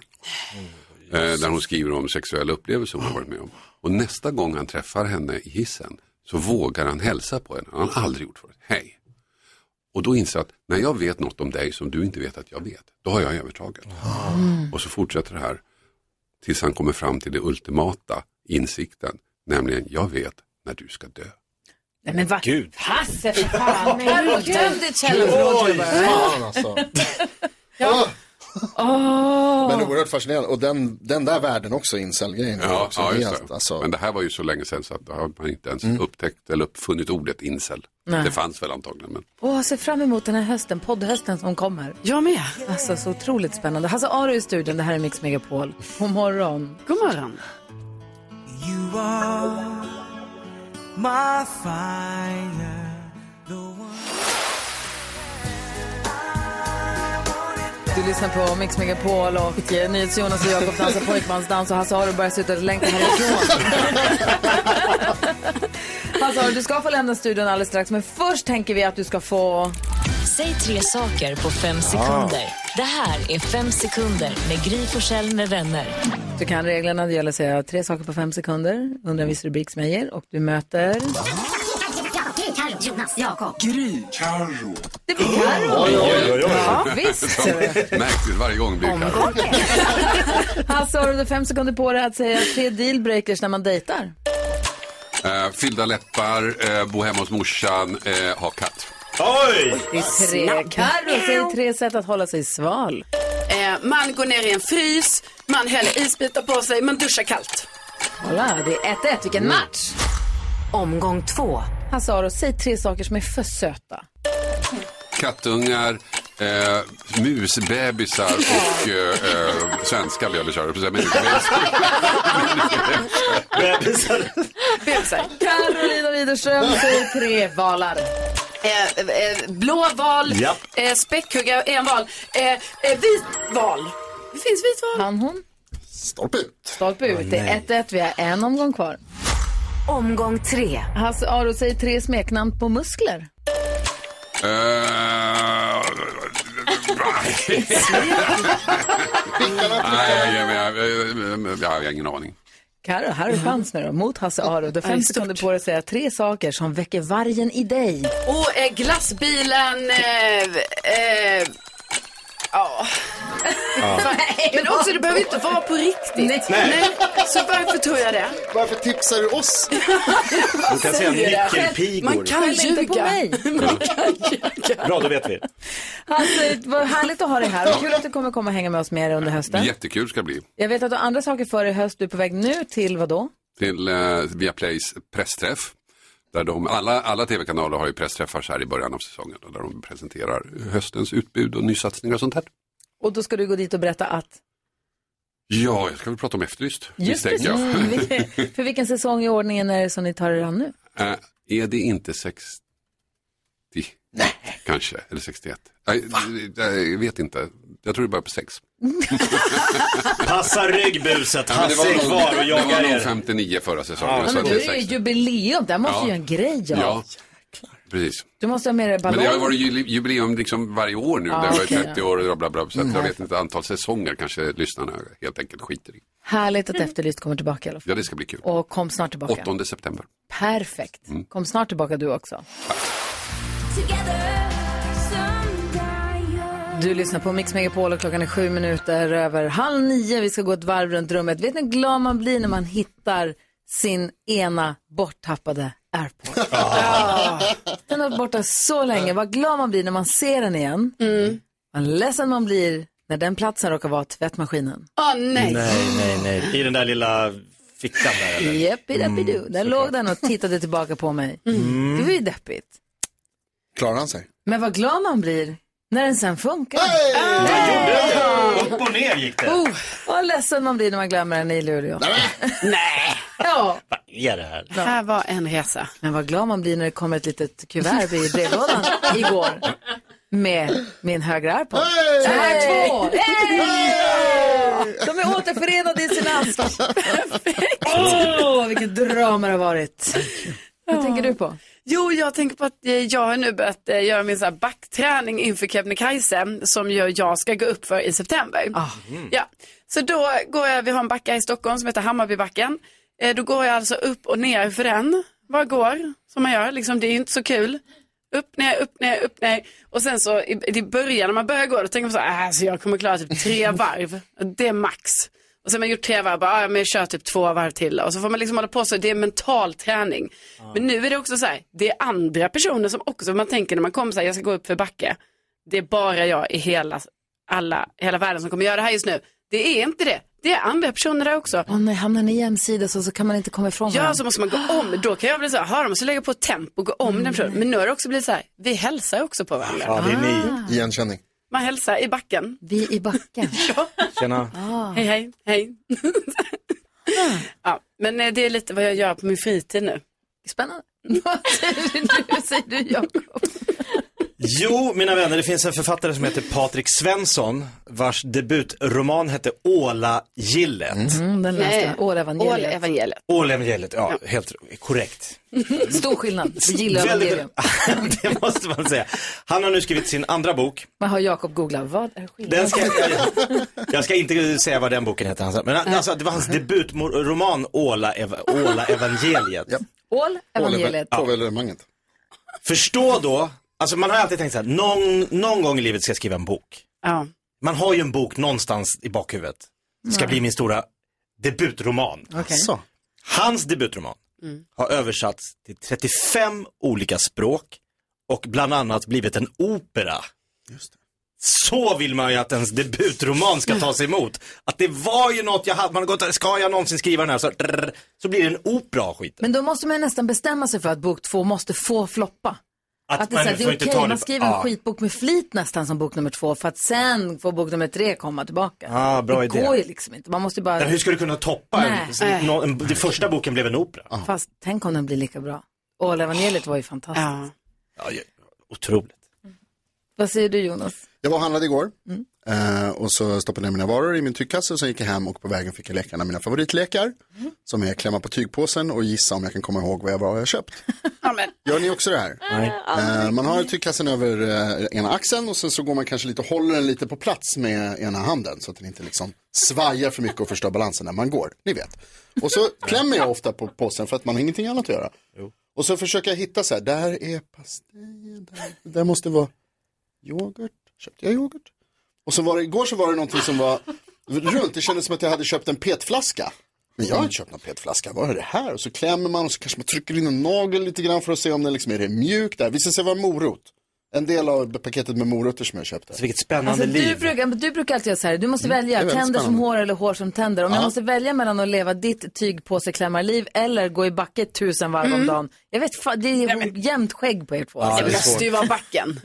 Speaker 18: Eh, där hon skriver om sexuella upplevelser hon har varit med om. Och nästa gång han träffar henne i hissen så vågar han hälsa på henne. Han har aldrig gjort förut. Hej! Och då inser jag att när jag vet något om dig som du inte vet att jag vet, då har jag övertaget. Och så fortsätter det här tills han kommer fram till det ultimata insikten, nämligen jag vet när du ska dö.
Speaker 1: Nej men vad?
Speaker 18: Gud.
Speaker 1: Hasse för fan!
Speaker 6: Nej,
Speaker 1: Carro,
Speaker 6: gud.
Speaker 1: töm ditt källarförråd.
Speaker 12: Oj,
Speaker 1: jobbar.
Speaker 12: fan alltså.
Speaker 1: Ja. Åh.
Speaker 12: Men oerhört fascinerande. Och den, den där världen också, incel-grejen.
Speaker 18: Ja,
Speaker 12: också,
Speaker 18: ja just
Speaker 12: helt,
Speaker 18: det.
Speaker 12: Alltså, Mm.
Speaker 18: Men det här var ju så länge sedan så att då har man inte ens upptäckt eller uppfunnit ordet incel.
Speaker 1: Nej.
Speaker 18: Det fanns väl antagligen. Men...
Speaker 1: Åh, jag ser fram emot den här hösten, poddhösten som kommer.
Speaker 3: Jag med.
Speaker 1: Alltså så otroligt spännande. Hasse Aro i studion, det här är Mix Megapol. God morgon.
Speaker 3: God morgon.
Speaker 6: You are my fire.
Speaker 1: Du lyssnar på Mix Megapol och eh, NyhetsJonas och Jakob dansar pojkmansdans och Hasse Aro börjar sluta längta härifrån. Hasse Aro, du ska få lämna studion alldeles strax, men först tänker vi att du ska få... Ah.
Speaker 8: Säg tre saker på fem sekunder. Det här är fem sekunder med Gry Forssell med vänner.
Speaker 1: Du kan reglerna, det gäller att säga tre saker på fem sekunder under en viss rubrik som jag ger och du möter...
Speaker 4: Gry, Carro, Jonas, Jakob.
Speaker 1: Gry.
Speaker 18: Carro.
Speaker 1: Det blir Carro.
Speaker 18: Oj, oj, oj.
Speaker 1: Ja, visst.
Speaker 18: Märkligt varje gång blir det Carro.
Speaker 1: Hasse Aro, du har fem sekunder på dig att säga tre dealbreakers när man dejtar.
Speaker 18: Eh, fyllda läppar, eh, bo hemma hos morsan, eh, ha katt.
Speaker 7: Oj!
Speaker 1: Det är tre. Carro säger tre sätt att hålla sig sval.
Speaker 3: Eh, man går ner i en frys, man häller isbitar på sig, man duschar kallt.
Speaker 1: Kolla, det är 1-1. Vilken
Speaker 3: Mm.
Speaker 1: match! Omgång två. Hasse Aro, säg tre saker som är för söta.
Speaker 18: Kattungar, eh, musbebisar och eh, eh, svenska bebisar. Jag höll på att säga människobebisar.
Speaker 3: Busar. Busar.
Speaker 1: Carolina Widerström säger tre valar.
Speaker 3: Eh, eh, blå val,
Speaker 1: Japp.
Speaker 3: eh, späckhugga är en val, eh, eh, vit val. Det finns vit val.
Speaker 1: Han, hon.
Speaker 12: Stolpe ut.
Speaker 1: Stolpe ut. Det är 1-1. Vi har en omgång kvar. Omgång tre. Hasse Aro säger tre smeknamn på muskler.
Speaker 18: Eh, Nej, jag, jag, jag, jag har ingen aning.
Speaker 1: Karo, här är chans nu då, mot Hasse Aro. Du har
Speaker 3: Ja, det
Speaker 1: fem
Speaker 3: är
Speaker 1: sekunder på dig att säga tre saker som väcker vargen i dig.
Speaker 3: Och eh, glassbilen, eh, eh, ja.
Speaker 12: Ja.
Speaker 3: Men också, det behöver inte vara på riktigt.
Speaker 12: Nej. Nej.
Speaker 3: Så varför tror jag det?
Speaker 12: Varför tipsar du oss?
Speaker 3: Vad
Speaker 7: kan säga
Speaker 3: säger det?
Speaker 7: nyckelpigor.
Speaker 3: Man kan
Speaker 1: Skäll inte på
Speaker 3: ljuga.
Speaker 1: mig.
Speaker 7: Bra, då vet vi.
Speaker 1: Hasse, Alltså, vad härligt att ha dig här och kul att du kommer komma och hänga med oss mer under hösten.
Speaker 18: Jättekul ska det bli.
Speaker 1: Jag vet att du har andra saker för dig i höst. Du är på väg nu till vad då?
Speaker 18: Till eh, Viaplays pressträff. Där de, alla, alla tv-kanaler har ju pressträffar så här i början av säsongen. Där de presenterar höstens utbud och nysatsningar och sånt här.
Speaker 1: Och då ska du gå dit och berätta att...
Speaker 18: Ja, jag ska väl prata om Efterlyst. misstänker jag.
Speaker 1: Mm, vilken- för vilken säsong i ordningen är det som ni tar er an nu?
Speaker 18: Eh, är det inte 60? Kanske, eller 61. Nej, jag vet inte. Jag tror det börjar på 6.
Speaker 7: Passa ryggbuset, Hasse är kvar och
Speaker 18: Det var
Speaker 7: jagar
Speaker 18: nog
Speaker 7: er.
Speaker 18: 59 förra säsongen.
Speaker 1: Ja,
Speaker 18: så
Speaker 1: men
Speaker 18: att det
Speaker 1: du
Speaker 18: är
Speaker 1: är ju
Speaker 18: 60.
Speaker 1: jubileum, där måste
Speaker 18: Ja.
Speaker 1: ju göra en grej av.
Speaker 18: Ja, precis.
Speaker 1: Du måste ha med dig
Speaker 18: Men
Speaker 1: ballong.
Speaker 18: det har ju varit ju- jubileum liksom varje år nu.
Speaker 1: Ja,
Speaker 18: det har varit
Speaker 1: okej.
Speaker 18: 30 år och bla bla bla. Så att
Speaker 1: Mm.
Speaker 18: jag vet inte, antal säsonger kanske lyssnarna helt enkelt skiter i.
Speaker 1: Härligt att Efterlyst kommer tillbaka i alla fall.
Speaker 18: Ja, det ska bli kul.
Speaker 1: Och kom snart tillbaka.
Speaker 18: 8 september.
Speaker 1: Perfekt.
Speaker 18: Mm.
Speaker 1: Kom snart tillbaka du också. Du lyssnar på Mix Megapol och klockan är sju minuter över halv nio. Vi ska gå ett varv runt rummet. Vet ni hur glad man blir när man hittar sin ena borttappade airport? Den har varit borta så länge. Vad glad man blir när man ser den igen. Vad ledsen man blir när den platsen råkar vara tvättmaskinen.
Speaker 3: Åh nej.
Speaker 7: Nej, nej, nej. I den där lilla fickan där eller?
Speaker 1: Jeppideppidu. där låg den och tittade tillbaka på mig. Det var ju deppigt.
Speaker 12: Klarar han sig?
Speaker 1: Men vad glad man blir när den sen funkar. Eh.
Speaker 7: Upp och ner gick det.
Speaker 1: Oh, vad ledsen man blir när man glömmer den i Luleå.
Speaker 3: Nej.
Speaker 1: Ja.
Speaker 7: Vad är det här?
Speaker 3: Det här var en resa.
Speaker 1: Men vad glad man blir när det kommer ett litet kuvert i brevlådan igår. Med min högra airpod. Så här är två. Hey! De är återförenade i sin ask. Åh, vilket drama det har varit. Vad tänker du på?
Speaker 3: Jo, jag tänker på att eh, jag har nu börjat eh, göra min så här backträning inför Kebnekaise som ju jag ska gå upp för i september.
Speaker 1: Ah.
Speaker 6: Mm.
Speaker 3: Ja. Så då går jag, vi har en backa i Stockholm som heter Hammarbybacken. Eh, Då går jag alltså upp och ner för den. Bara går, som man gör. Liksom, det är ju inte så kul. Upp, ner, upp, ner, upp, ner. Och sen så i, i början när man börjar gå, då tänker man så här, "Äh, alltså, jag kommer klara typ tre varv. Det är max. Och sen har man gjort tre varv, bara, "Ah, men jag kör typ två varv till. Och så får man liksom hålla på så, det är mental träning. Men nu är det också så här, det är andra personer som också, man tänker när man kommer så här, jag ska gå upp för backe. Det är bara jag i hela, alla, hela världen som kommer göra det här just nu. Det är inte det. Det är andra personer där också.
Speaker 1: Åh nej, hamnar ni jämsides och så kan man inte komma ifrån
Speaker 3: Ja,
Speaker 1: varandra.
Speaker 3: så måste man gå om. Då kan jag bli så här, "Ha, de måste lägga på tempo och gå om den personen. Men nu har det också blivit så här, vi hälsar också på varandra.
Speaker 12: Ah. Igenkänning.
Speaker 3: Man hälsar i backen.
Speaker 1: Vi i backen.
Speaker 7: Tjena.
Speaker 3: Hej, hej, hej. ja, men eh, det är lite vad jag gör på min fritid nu.
Speaker 1: Spännande. Vad säger du, säger du Jakob?
Speaker 7: Jo, mina vänner, det finns en författare som heter Patrik Svensson vars debutroman hette Åla-gillet.
Speaker 1: Mm, den läste jag. Ålevangeliet.
Speaker 3: Ålevangeliet.
Speaker 7: Åla-evangeliet, ja, helt korrekt.
Speaker 1: Stor skillnad. Vi gillar
Speaker 7: Väldigt-
Speaker 1: evangelium.
Speaker 7: Det måste man säga. Han har nu skrivit sin andra bok.
Speaker 1: Man hör Jakob googla. Vad är skillnaden?
Speaker 7: Ah. Den ska, jag ska inte säga vad den boken heter, han sa. men alltså, det var hans debutroman Åla-ev- Åla-evangeliet.
Speaker 1: Ål, evangeliet.
Speaker 7: Påvelemanget. Förstå då, alltså man har alltid tänkt så här, någon, någon gång i livet ska jag skriva en bok.
Speaker 3: Ja.
Speaker 7: Man har ju en bok någonstans i bakhuvudet. Det ska
Speaker 1: Ja.
Speaker 7: bli min stora debutroman. Alltså. Hans debutroman
Speaker 4: Mm.
Speaker 7: har översatts till 35 olika språk och bland annat blivit en opera. Så vill man ju att ens debutroman ska tas emot. Att det var ju något jag hade, man har gått, ska jag någonsin skriva den här så, så blir det en opera av skiten.
Speaker 1: Men då måste man ju nästan bestämma sig för att bok två måste få floppa. Att, det, är så här, det är
Speaker 7: får inte
Speaker 1: okej,
Speaker 7: ta det- Ah.
Speaker 1: man skriver en
Speaker 7: Ja.
Speaker 1: skitbok med flit nästan som bok nummer två för att sen får bok nummer tre komma tillbaka.
Speaker 7: Ah, bra
Speaker 1: det
Speaker 7: idé.
Speaker 1: går ju liksom inte, man måste ju bara,
Speaker 7: Men hur ska du kunna toppa en,
Speaker 1: Nej.
Speaker 7: nå- en, Den första boken blev en opera.
Speaker 1: fast tänk om den blir lika bra. Åh, evangeliet var ju fantastiskt.
Speaker 7: Ja, ja, otroligt.
Speaker 1: Vad säger du Jonas?
Speaker 12: Jag var och handlade igår.
Speaker 1: Mm.
Speaker 12: Eh, och så stoppade jag mina varor i min tygkasse och sen gick jag hem och på vägen fick jag lekarna mina favoritlekar. Som är klämma på tygpåsen och gissa om jag kan komma ihåg vad jag var och jag köpt. Gör ni också det här? Eh, man har tygkassen över eh, ena axeln och sen så går man kanske lite och håller den lite på plats med ena handen så att den inte liksom svajar för mycket och förstör balansen när man går. Ni vet. Och så klämmer jag ofta på påsen för att man har ingenting annat att göra. Och så försöker jag hitta så här, där är pastejen, där, där måste vara yoghurt, köpte jag yoghurt? Och så var det, igår så var det någonting som var runt, det kändes som att jag hade köpt en petflaska. Men jag har inte köpt någon petflaska, vad är det här? Och så klämmer man och så kanske man trycker in en nagel lite grann för att se om den liksom är det mjuk där. Visade sig vara morot. En del av paketet med morötter som jag köpte.
Speaker 7: vilket spännande
Speaker 1: Alltså, du, brukar, du brukar alltid göra så här, du måste
Speaker 12: Mm, det
Speaker 1: välja
Speaker 12: är väldigt
Speaker 1: tänder som
Speaker 12: spännande.
Speaker 1: hår eller hår som tänder. Om jag
Speaker 12: Ja.
Speaker 1: måste välja mellan att leva ditt tygpåseklämmarliv eller gå i backe tusen varv om
Speaker 3: Mm.
Speaker 1: dagen. Jag vet, fan, det är jämnt skägg på er två.
Speaker 3: det måste ju vara backen.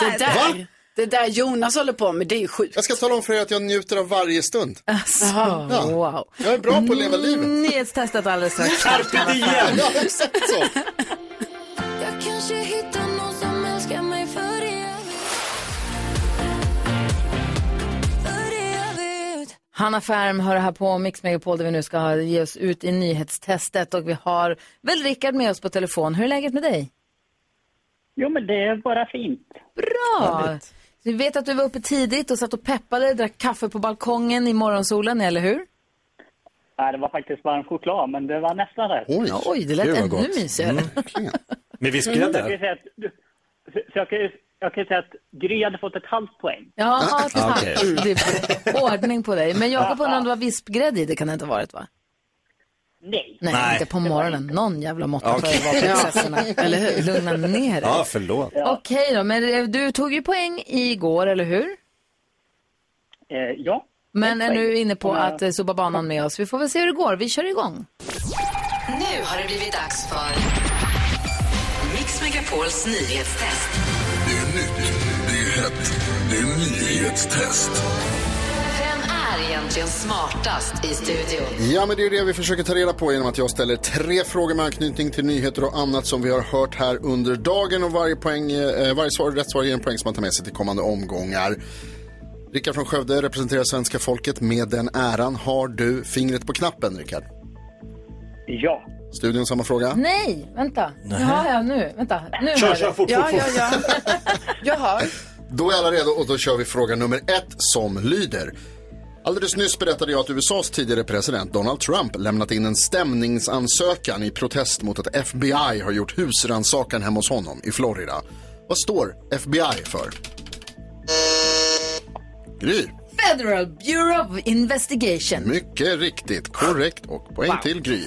Speaker 3: Det där, det där Jonas håller på med, det är ju sjukt.
Speaker 12: Jag ska tala om för er att jag njuter av varje stund.
Speaker 1: Alltså,
Speaker 12: Ja.
Speaker 1: wow.
Speaker 12: Jag är bra på att leva livet.
Speaker 1: Nyhetstestet Mm, alldeles strax.
Speaker 12: Carpe diem. Ja, exakt så.
Speaker 6: Jag kanske hittar någon som älskar mig för det jag vet. För det jag vet.
Speaker 1: Hanna Färm hör här på Mix Megapol där vi nu ska ha- ge oss ut i nyhetstestet och vi har väl Rickard med oss på telefon. Hur är läget med dig?
Speaker 21: Jo, men det är bara fint.
Speaker 1: Bra! Vi vet att du var uppe tidigt och satt och peppade, drack kaffe på balkongen i morgonsolen, eller hur?
Speaker 21: Nej, det var faktiskt varm choklad, men det var nästan rätt.
Speaker 1: Oj, Ja, oj, det lät gud vad ännu gott. mysigare. Mm,
Speaker 7: Med
Speaker 21: Mm. Jag kan ju säga att, du- så jag kan, ju- jag kan ju säga att Gry hade fått ett halvt poäng.
Speaker 1: Ja, tack.
Speaker 21: Mm.
Speaker 1: Det är bra. ordning på dig. Men Jakob undrar om det var vispgrädde i, det kan det inte ha varit va?
Speaker 21: Nej.
Speaker 1: Nej,
Speaker 7: Nej.
Speaker 1: inte på morgonen. Någon jävla måtta
Speaker 7: Okej.
Speaker 1: okay. för det var prinsessorna.
Speaker 21: Ja. Eller hur?
Speaker 1: Lugna ner
Speaker 7: Ja,
Speaker 1: er.
Speaker 7: förlåt.
Speaker 1: Okej då, men eh, du tog ju poäng igår, eller hur?
Speaker 21: Eh, ja.
Speaker 1: Men är
Speaker 21: poäng.
Speaker 1: nu inne på
Speaker 21: Ja.
Speaker 1: att eh, sopa banan med oss. Vi får väl se hur det går. Vi kör igång.
Speaker 2: Nu har det blivit dags för Mix Megapols nyhetstest.
Speaker 20: Det är nytt, det är hett, det är nyhetstest.
Speaker 2: Vem är egentligen smartast i studion?
Speaker 12: Ja, men det är ju det vi försöker ta reda på genom att jag ställer tre frågor med anknytning till nyheter och annat som vi har hört här under dagen och varje, poäng, eh, varje svar, rätt svar ger en poäng som man tar med sig till kommande omgångar. Rickard från Skövde representerar svenska folket. Med den äran har du fingret på knappen, Rickard.
Speaker 21: Ja.
Speaker 12: Studion samma fråga.
Speaker 1: Nej, vänta. Nu
Speaker 12: Nähä.
Speaker 1: har jag nu. Vänta. Nu
Speaker 12: Kör,
Speaker 1: har jag
Speaker 12: kör,
Speaker 1: det.
Speaker 12: fort, Ja, fort, fort.
Speaker 1: ja.
Speaker 3: Jag har.
Speaker 12: Då är alla redo och då kör vi fråga nummer ett som lyder. Alldeles nyss berättade jag att USAs tidigare president Donald Trump lämnat in en stämningsansökan i protest mot att FBI har gjort husrannsakan hemma hos honom i Florida. Vad står FBI för? Gry.
Speaker 1: Federal Bureau of Investigation.
Speaker 12: Mycket riktigt, korrekt och poäng till Gry.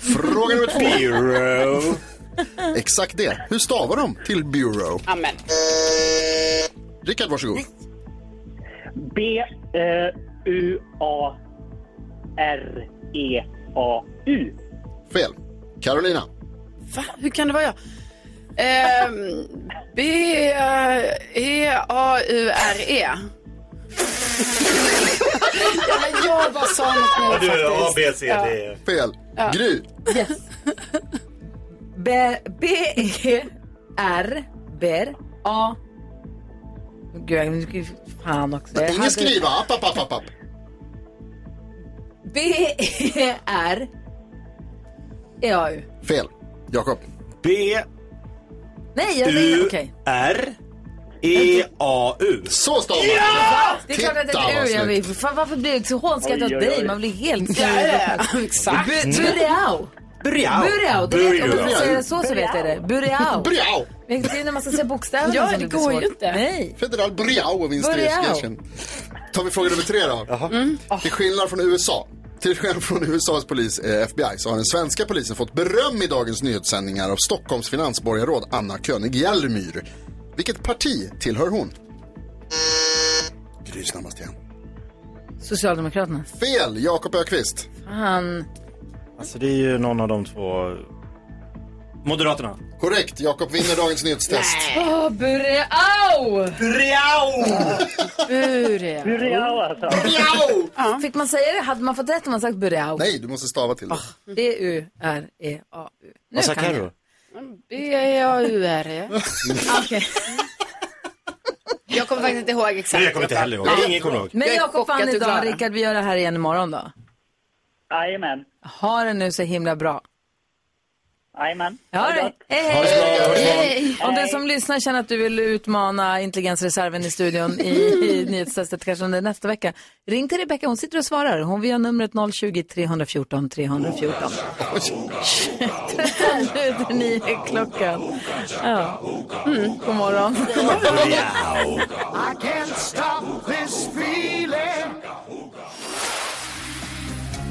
Speaker 12: Fråga nummer två.
Speaker 7: Bureau.
Speaker 12: Exakt det. Hur stavar de till Bureau?
Speaker 3: Amen.
Speaker 12: Rickard, varsågod.
Speaker 21: eh, E, B-U-A-R-E-A-U.
Speaker 12: Fel. Carolina.
Speaker 3: Va? Hur kan det vara jag? Ehm, E, B-E-A-U-R-E. ja, men jag bara sa något nu
Speaker 7: A,
Speaker 3: faktiskt.
Speaker 7: B, C, D.
Speaker 12: Fel. Gry.
Speaker 1: Yes. B- E, B-E-R, ber, A. Gud, jag- nu- fan också. Jag
Speaker 12: Ingen
Speaker 1: hade-
Speaker 12: skriva. App, app, app, app, app.
Speaker 1: E, B-E-R, E-A-U.
Speaker 12: Fel. Jakob.
Speaker 7: B,
Speaker 1: Nej, jag
Speaker 7: U,
Speaker 1: lägger, okej.
Speaker 7: R, E, A, U.
Speaker 12: Så stavar man.
Speaker 7: Ja!
Speaker 1: Det är klart att det
Speaker 7: Titta,
Speaker 1: är
Speaker 7: vad
Speaker 1: U jag vill.
Speaker 7: snyggt.
Speaker 1: Fan, varför blir jag så hånskratt
Speaker 7: Oj,
Speaker 1: åt
Speaker 7: oj,
Speaker 1: dig?
Speaker 7: oj.
Speaker 1: Man blir helt
Speaker 7: Ja,
Speaker 3: exakt.
Speaker 1: Bu- Bureau.
Speaker 7: Bureau.
Speaker 1: Bureau. Det vet, om du
Speaker 7: Bureau.
Speaker 1: säger det så så vet jag det. Bureau.
Speaker 12: Bureau.
Speaker 1: Men Det är när man ska säga bokstäverna
Speaker 3: Ja,
Speaker 1: som
Speaker 3: det
Speaker 1: blir
Speaker 3: går ju
Speaker 1: svårt.
Speaker 3: inte.
Speaker 1: Nej.
Speaker 12: Federal Bureau of Investigation. Tar vi fråga nummer tre då.
Speaker 1: Mm.
Speaker 12: Till
Speaker 1: Oh.
Speaker 12: skillnad från USA. Till skillnad från USAs polis, eh, FBI, så har den svenska polisen fått beröm i dagens nyhetssändningar av Stockholms finansborgarråd Anna König Hjelmyr. Vilket parti tillhör hon? Gry snabbast igen.
Speaker 1: Socialdemokraterna.
Speaker 12: Fel, Jakob Ökvist.
Speaker 1: Han...
Speaker 7: Alltså det är ju någon av de två. Moderaterna.
Speaker 12: Korrekt, Jakob vinner dagens nyhetstest.
Speaker 1: Åh, Bureau! Bureau!
Speaker 12: Bureau,
Speaker 1: alltså.
Speaker 12: Bureau!
Speaker 1: Fick man säga det? Hade man fått rätt om man sagt Bureau?
Speaker 12: Nej, du måste stava till det.
Speaker 3: E,
Speaker 1: B-U-R-E-A-U. Ah. Nu
Speaker 12: sa
Speaker 1: kan
Speaker 12: Carro?
Speaker 1: jag. B-A-U-R-E. Okej.
Speaker 3: Jag kommer faktiskt inte ihåg exakt.
Speaker 7: Jag kommer inte heller ihåg.
Speaker 3: Nej.
Speaker 7: Ingen kommer ihåg.
Speaker 1: Men
Speaker 3: Jag är
Speaker 1: Jakob
Speaker 3: chockad
Speaker 1: vann
Speaker 3: och
Speaker 1: idag.
Speaker 3: glad.
Speaker 1: Rickard, vi gör det här igen imorgon då.
Speaker 21: Jajamän.
Speaker 1: Ha det nu så himla bra.
Speaker 21: Jajamän.
Speaker 1: Ja, hej,
Speaker 21: Ha det så
Speaker 1: hej.
Speaker 21: bra, ha det så bra.
Speaker 1: hej. Om den som lyssnar känner att du vill utmana intelligensreserven i studion i, i nyhetstestet kanske under nästa vecka, ring till Rebecka. Hon sitter och svarar. Hon vill ha numret 020-314 314. 13 minuter nio är klockan. Ja. Mm, god morgon.
Speaker 6: I can't stop this feeling.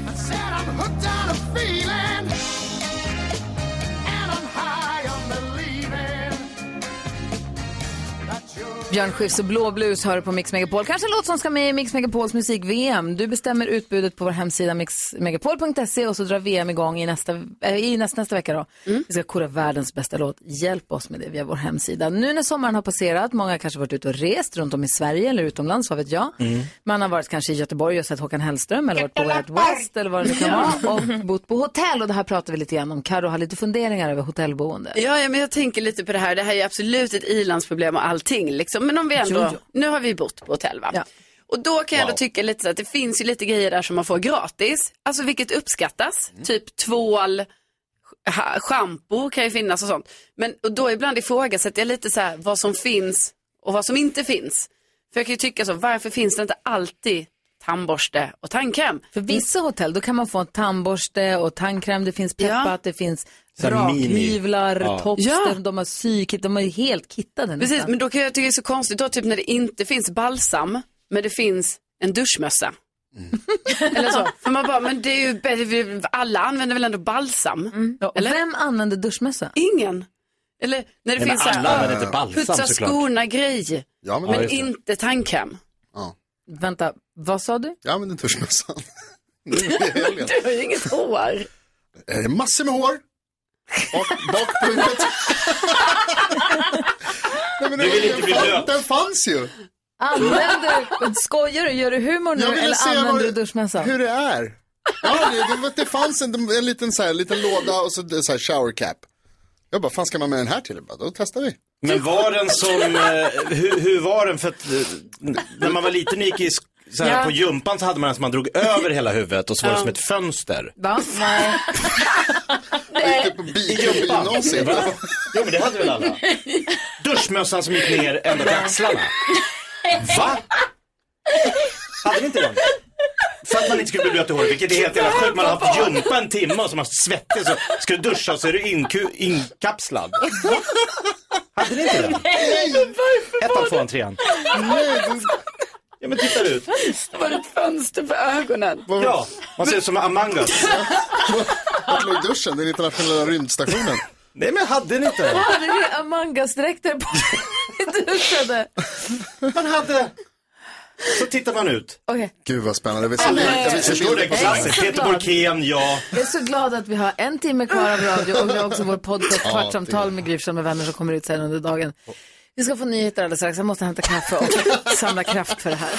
Speaker 6: I said I'm hooked on a feeling. And I'm high on believing.
Speaker 1: Björn Skifs och Blåblus hör på Mix Megapol. Kanske en låt som ska med i Mix Megapols musik-VM. Du bestämmer utbudet på vår hemsida mixmegapol.se och så drar VM igång i nästa, äh, i nästa, nästa vecka. Då. Vi ska kora världens bästa låt. Hjälp oss med det via vår hemsida. Nu när sommaren har passerat, många har kanske varit ute och rest runt om i Sverige eller utomlands, vad vet jag.
Speaker 7: Mm.
Speaker 1: Man har varit kanske i Göteborg och sett Håkan Hellström eller varit på Way Out West eller vad det nu kan vara. Och bott på hotell och det här pratar vi lite grann om. Karo har lite funderingar över hotellboende.
Speaker 3: Ja, ja, men jag tänker lite på det här. Det här är absolut ett ilandsproblem och allting. Liksom. Men om vi ändå,
Speaker 1: Jo, jo.
Speaker 3: nu har vi bott på hotell va? Och då kan jag ändå tycka lite så att det finns ju lite grejer där som man får gratis. Alltså vilket uppskattas. Typ tvål, ha- shampoo kan ju finnas och sånt. Men och då ibland ifrågasätter jag lite så här vad som finns och vad som inte finns. För jag kan ju tycka så, varför finns det inte alltid tandborste och tandkräm?
Speaker 1: För vissa hotell då kan man få en tandborste och tandkräm, det finns peppat, det finns
Speaker 3: Så här mini.
Speaker 1: rakhyvlar,
Speaker 3: Ja.
Speaker 1: tops,
Speaker 3: Ja.
Speaker 1: de- de har sykit, de är ju helt kittade
Speaker 3: Precis, men då kan jag tycka det är så konstigt då typ när det inte finns balsam, men det finns en duschmössa. Eller så. För man bara, men det är ju, bättre, vi- alla använder väl ändå balsam? Eller?
Speaker 1: Mm. Vem använder duschmössa?
Speaker 3: Ingen. Eller när det
Speaker 1: Nej, men
Speaker 3: finns så här,
Speaker 1: alla använder
Speaker 3: "Åh,
Speaker 1: inte balsam,
Speaker 3: putsa
Speaker 1: såklart."
Speaker 3: skorna grej.
Speaker 12: Ja, men-
Speaker 3: men
Speaker 12: Ja, just det.
Speaker 3: inte tandkräm.
Speaker 1: Vänta, vad sa du?
Speaker 12: Jag använder duschmössan.
Speaker 3: Du har ju inget hår.
Speaker 12: Eh, Massor med hår. Bak, bakpunkt. Nej, men
Speaker 6: Du vill
Speaker 12: den,
Speaker 6: inte bli
Speaker 12: fan,
Speaker 6: blöt.
Speaker 12: den fanns ju.
Speaker 1: Använder du, skojar du, gör du humor nu
Speaker 12: Jag ville
Speaker 1: eller
Speaker 12: se
Speaker 1: använder
Speaker 12: vad-
Speaker 1: du duschmössa?
Speaker 12: Hur det är. Ja, det, det, det fanns en, en liten, så här, liten låda och så, så här shower cap. Jag bara, fan ska man med den här till? Jag bara, då testar vi.
Speaker 7: Men var den som, eh, hur, hur var den? För att eh, när man var liten och gick i sk- så här,
Speaker 1: Ja.
Speaker 7: på gympan så hade man den som man drog över hela huvudet och så var det
Speaker 1: Ja.
Speaker 7: som ett fönster.
Speaker 1: Va? Nej.
Speaker 7: I gympan. Va? Jo men det hade väl alla. Duschmössan som gick ner ända till axlarna. Va? Hade ni inte den? För att man inte skulle bli blöt i håret, vilket är helt jävla sjukt. Man har haft gympa en timme och så är man svettig så ska du duscha och så är du inku- inkapslad. Hade ni inte den? Ettan, tvåan, trean. Ja men tittar ut.
Speaker 3: Det var ett fönster för ögonen.
Speaker 7: Ja, man ser ut som Among us.
Speaker 12: Vart låg duschen? Den internationella rymdstationen?
Speaker 7: Nej men hade ni inte?
Speaker 1: Hade ni Amangas-dräkter på dig duschade?
Speaker 7: Man hade. Så tittar man ut.
Speaker 1: Okej.
Speaker 12: Gud vad spännande. Vi
Speaker 1: Ja, men-
Speaker 12: vi
Speaker 7: Förstår du? Klassiskt. Peter Borkén, ja.
Speaker 1: Jag är så glad att vi har en timme kvar av radio och vi har också vår podcast
Speaker 7: Ja,
Speaker 1: Kvartsamtal med Gryfsson med vänner som kommer ut sen under dagen. Vi ska få nyheter alldeles strax. Jag måste hämta kaffe och samla kraft för det här.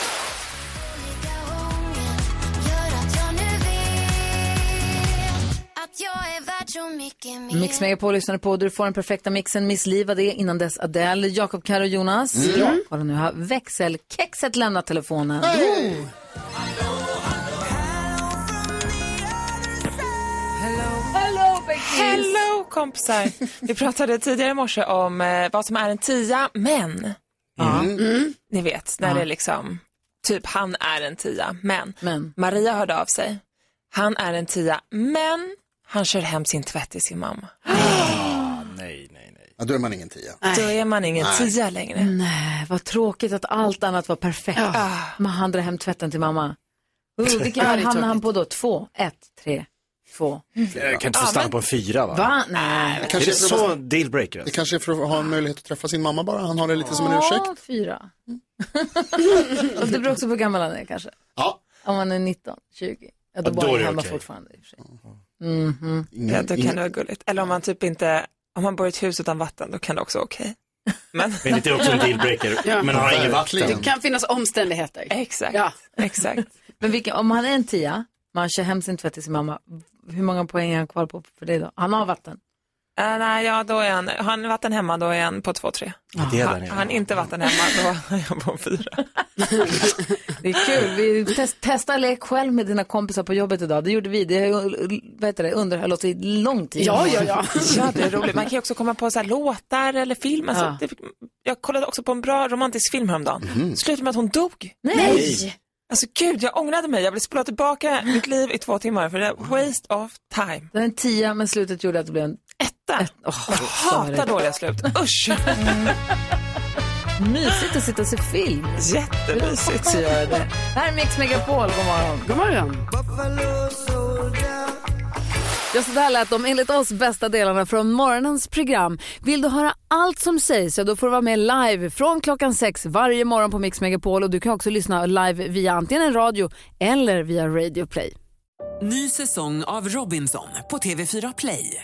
Speaker 6: Att jag är värd så mycket mer.
Speaker 1: Mix Megapol lyssnar på. Du får den perfekta mixen. Miss Li var det innan dess Adele, Jakob, Karo och Jonas.
Speaker 6: Mm. Ja.
Speaker 1: Kolla nu har växelkexet lämnat telefonen.
Speaker 6: Hey!
Speaker 1: Hello,
Speaker 9: Hello kompisar! Vi pratade tidigare i morse om eh, vad som är en tia, men. Ja. Ni vet, när
Speaker 1: Mm. Ja.
Speaker 9: det är liksom, typ han är en tia, men.
Speaker 1: men.
Speaker 9: Maria hörde av sig. Han är en tia, men han kör hem sin tvätt till sin mamma.
Speaker 12: Ja, då är man ingen tia.
Speaker 9: Då är man ingen
Speaker 12: Nej.
Speaker 9: tia längre.
Speaker 1: Nej, vad tråkigt att allt annat var perfekt. Men han drar hem tvätten till mamma. Uh, vilken
Speaker 9: Ja, Oh, det är
Speaker 1: hamnar han
Speaker 9: tråkigt.
Speaker 1: på då? Två, ett, tre, två.
Speaker 7: Jag kan inte få stanna på en fyra va?
Speaker 1: Va? Nej.
Speaker 12: Det
Speaker 7: Det
Speaker 12: kanske
Speaker 7: kanske är det
Speaker 12: är för-
Speaker 7: så dealbreaker?
Speaker 12: Det
Speaker 7: alltså?
Speaker 12: kanske är för att ha en möjlighet att träffa sin mamma bara. Han har det lite som en ursäkt.
Speaker 1: Ja, fyra. Och Mm. Alltså, det beror också på hur gammal han är kanske.
Speaker 12: Ja.
Speaker 1: Om han är 19, 20. Ja, då
Speaker 9: Ja,
Speaker 1: bor
Speaker 9: då är
Speaker 1: han
Speaker 9: det
Speaker 1: hemma
Speaker 9: okej.
Speaker 1: fortfarande i och för sig.
Speaker 9: Ja, då kan det vara gulligt. Eller om man typ inte om man bor i ett hus utan vatten, då kan det också vara okej.
Speaker 3: Men det är också en dealbreaker.
Speaker 9: Ja.
Speaker 3: Men han har inget vatten.
Speaker 22: Det kan finnas omständigheter.
Speaker 9: Exakt. Exakt.
Speaker 1: Men vilken, om han är en tia, man kör hem sin tvätt till sin mamma, hur många poäng är han kvar på för det då? Han har vatten.
Speaker 9: Äh, nej, ja, då är han, har han vatten hemma då är han på 2-3.
Speaker 1: Ja, det är där nere.
Speaker 9: Har han inte vatten hemma då är han på 4.
Speaker 1: Det är kul. Vi test, testar lek själv med dina kompisar på jobbet idag. Det gjorde vi. Det, vad heter det, underhöll oss i lång tid.
Speaker 9: Ja, ja, ja. ja, det är roligt. Man kan ju också komma på så här låtar eller film. Alltså,
Speaker 1: Ja.
Speaker 9: det, jag kollade också på en bra romantisk film häromdagen.
Speaker 1: Mhm.
Speaker 9: Slutade med att hon dog.
Speaker 1: Nej!
Speaker 9: Alltså gud, jag ångrade mig. Jag ville spola tillbaka mitt liv i två timmar för det är waste of time.
Speaker 1: Det var en tia, men slutet gjorde att det blev en
Speaker 9: etta.
Speaker 1: Ett, åh,
Speaker 9: Jag hatar dåliga slut. Usch!
Speaker 5: Mm.
Speaker 1: Mysigt att sitta och se film.
Speaker 9: Jättemysigt.
Speaker 1: Så gör jag det. Här är Mix Megapol, god morgon.
Speaker 22: God morgon.
Speaker 1: Ja, så där lät de enligt oss bästa delarna från morgonens program. Vill du höra allt som sägs, ja då får du vara med live från klockan sex varje morgon på Mix Megapol och du kan också lyssna live via antingen en radio eller via Radio Play.
Speaker 4: Ny säsong av Robinson på TV4 Play.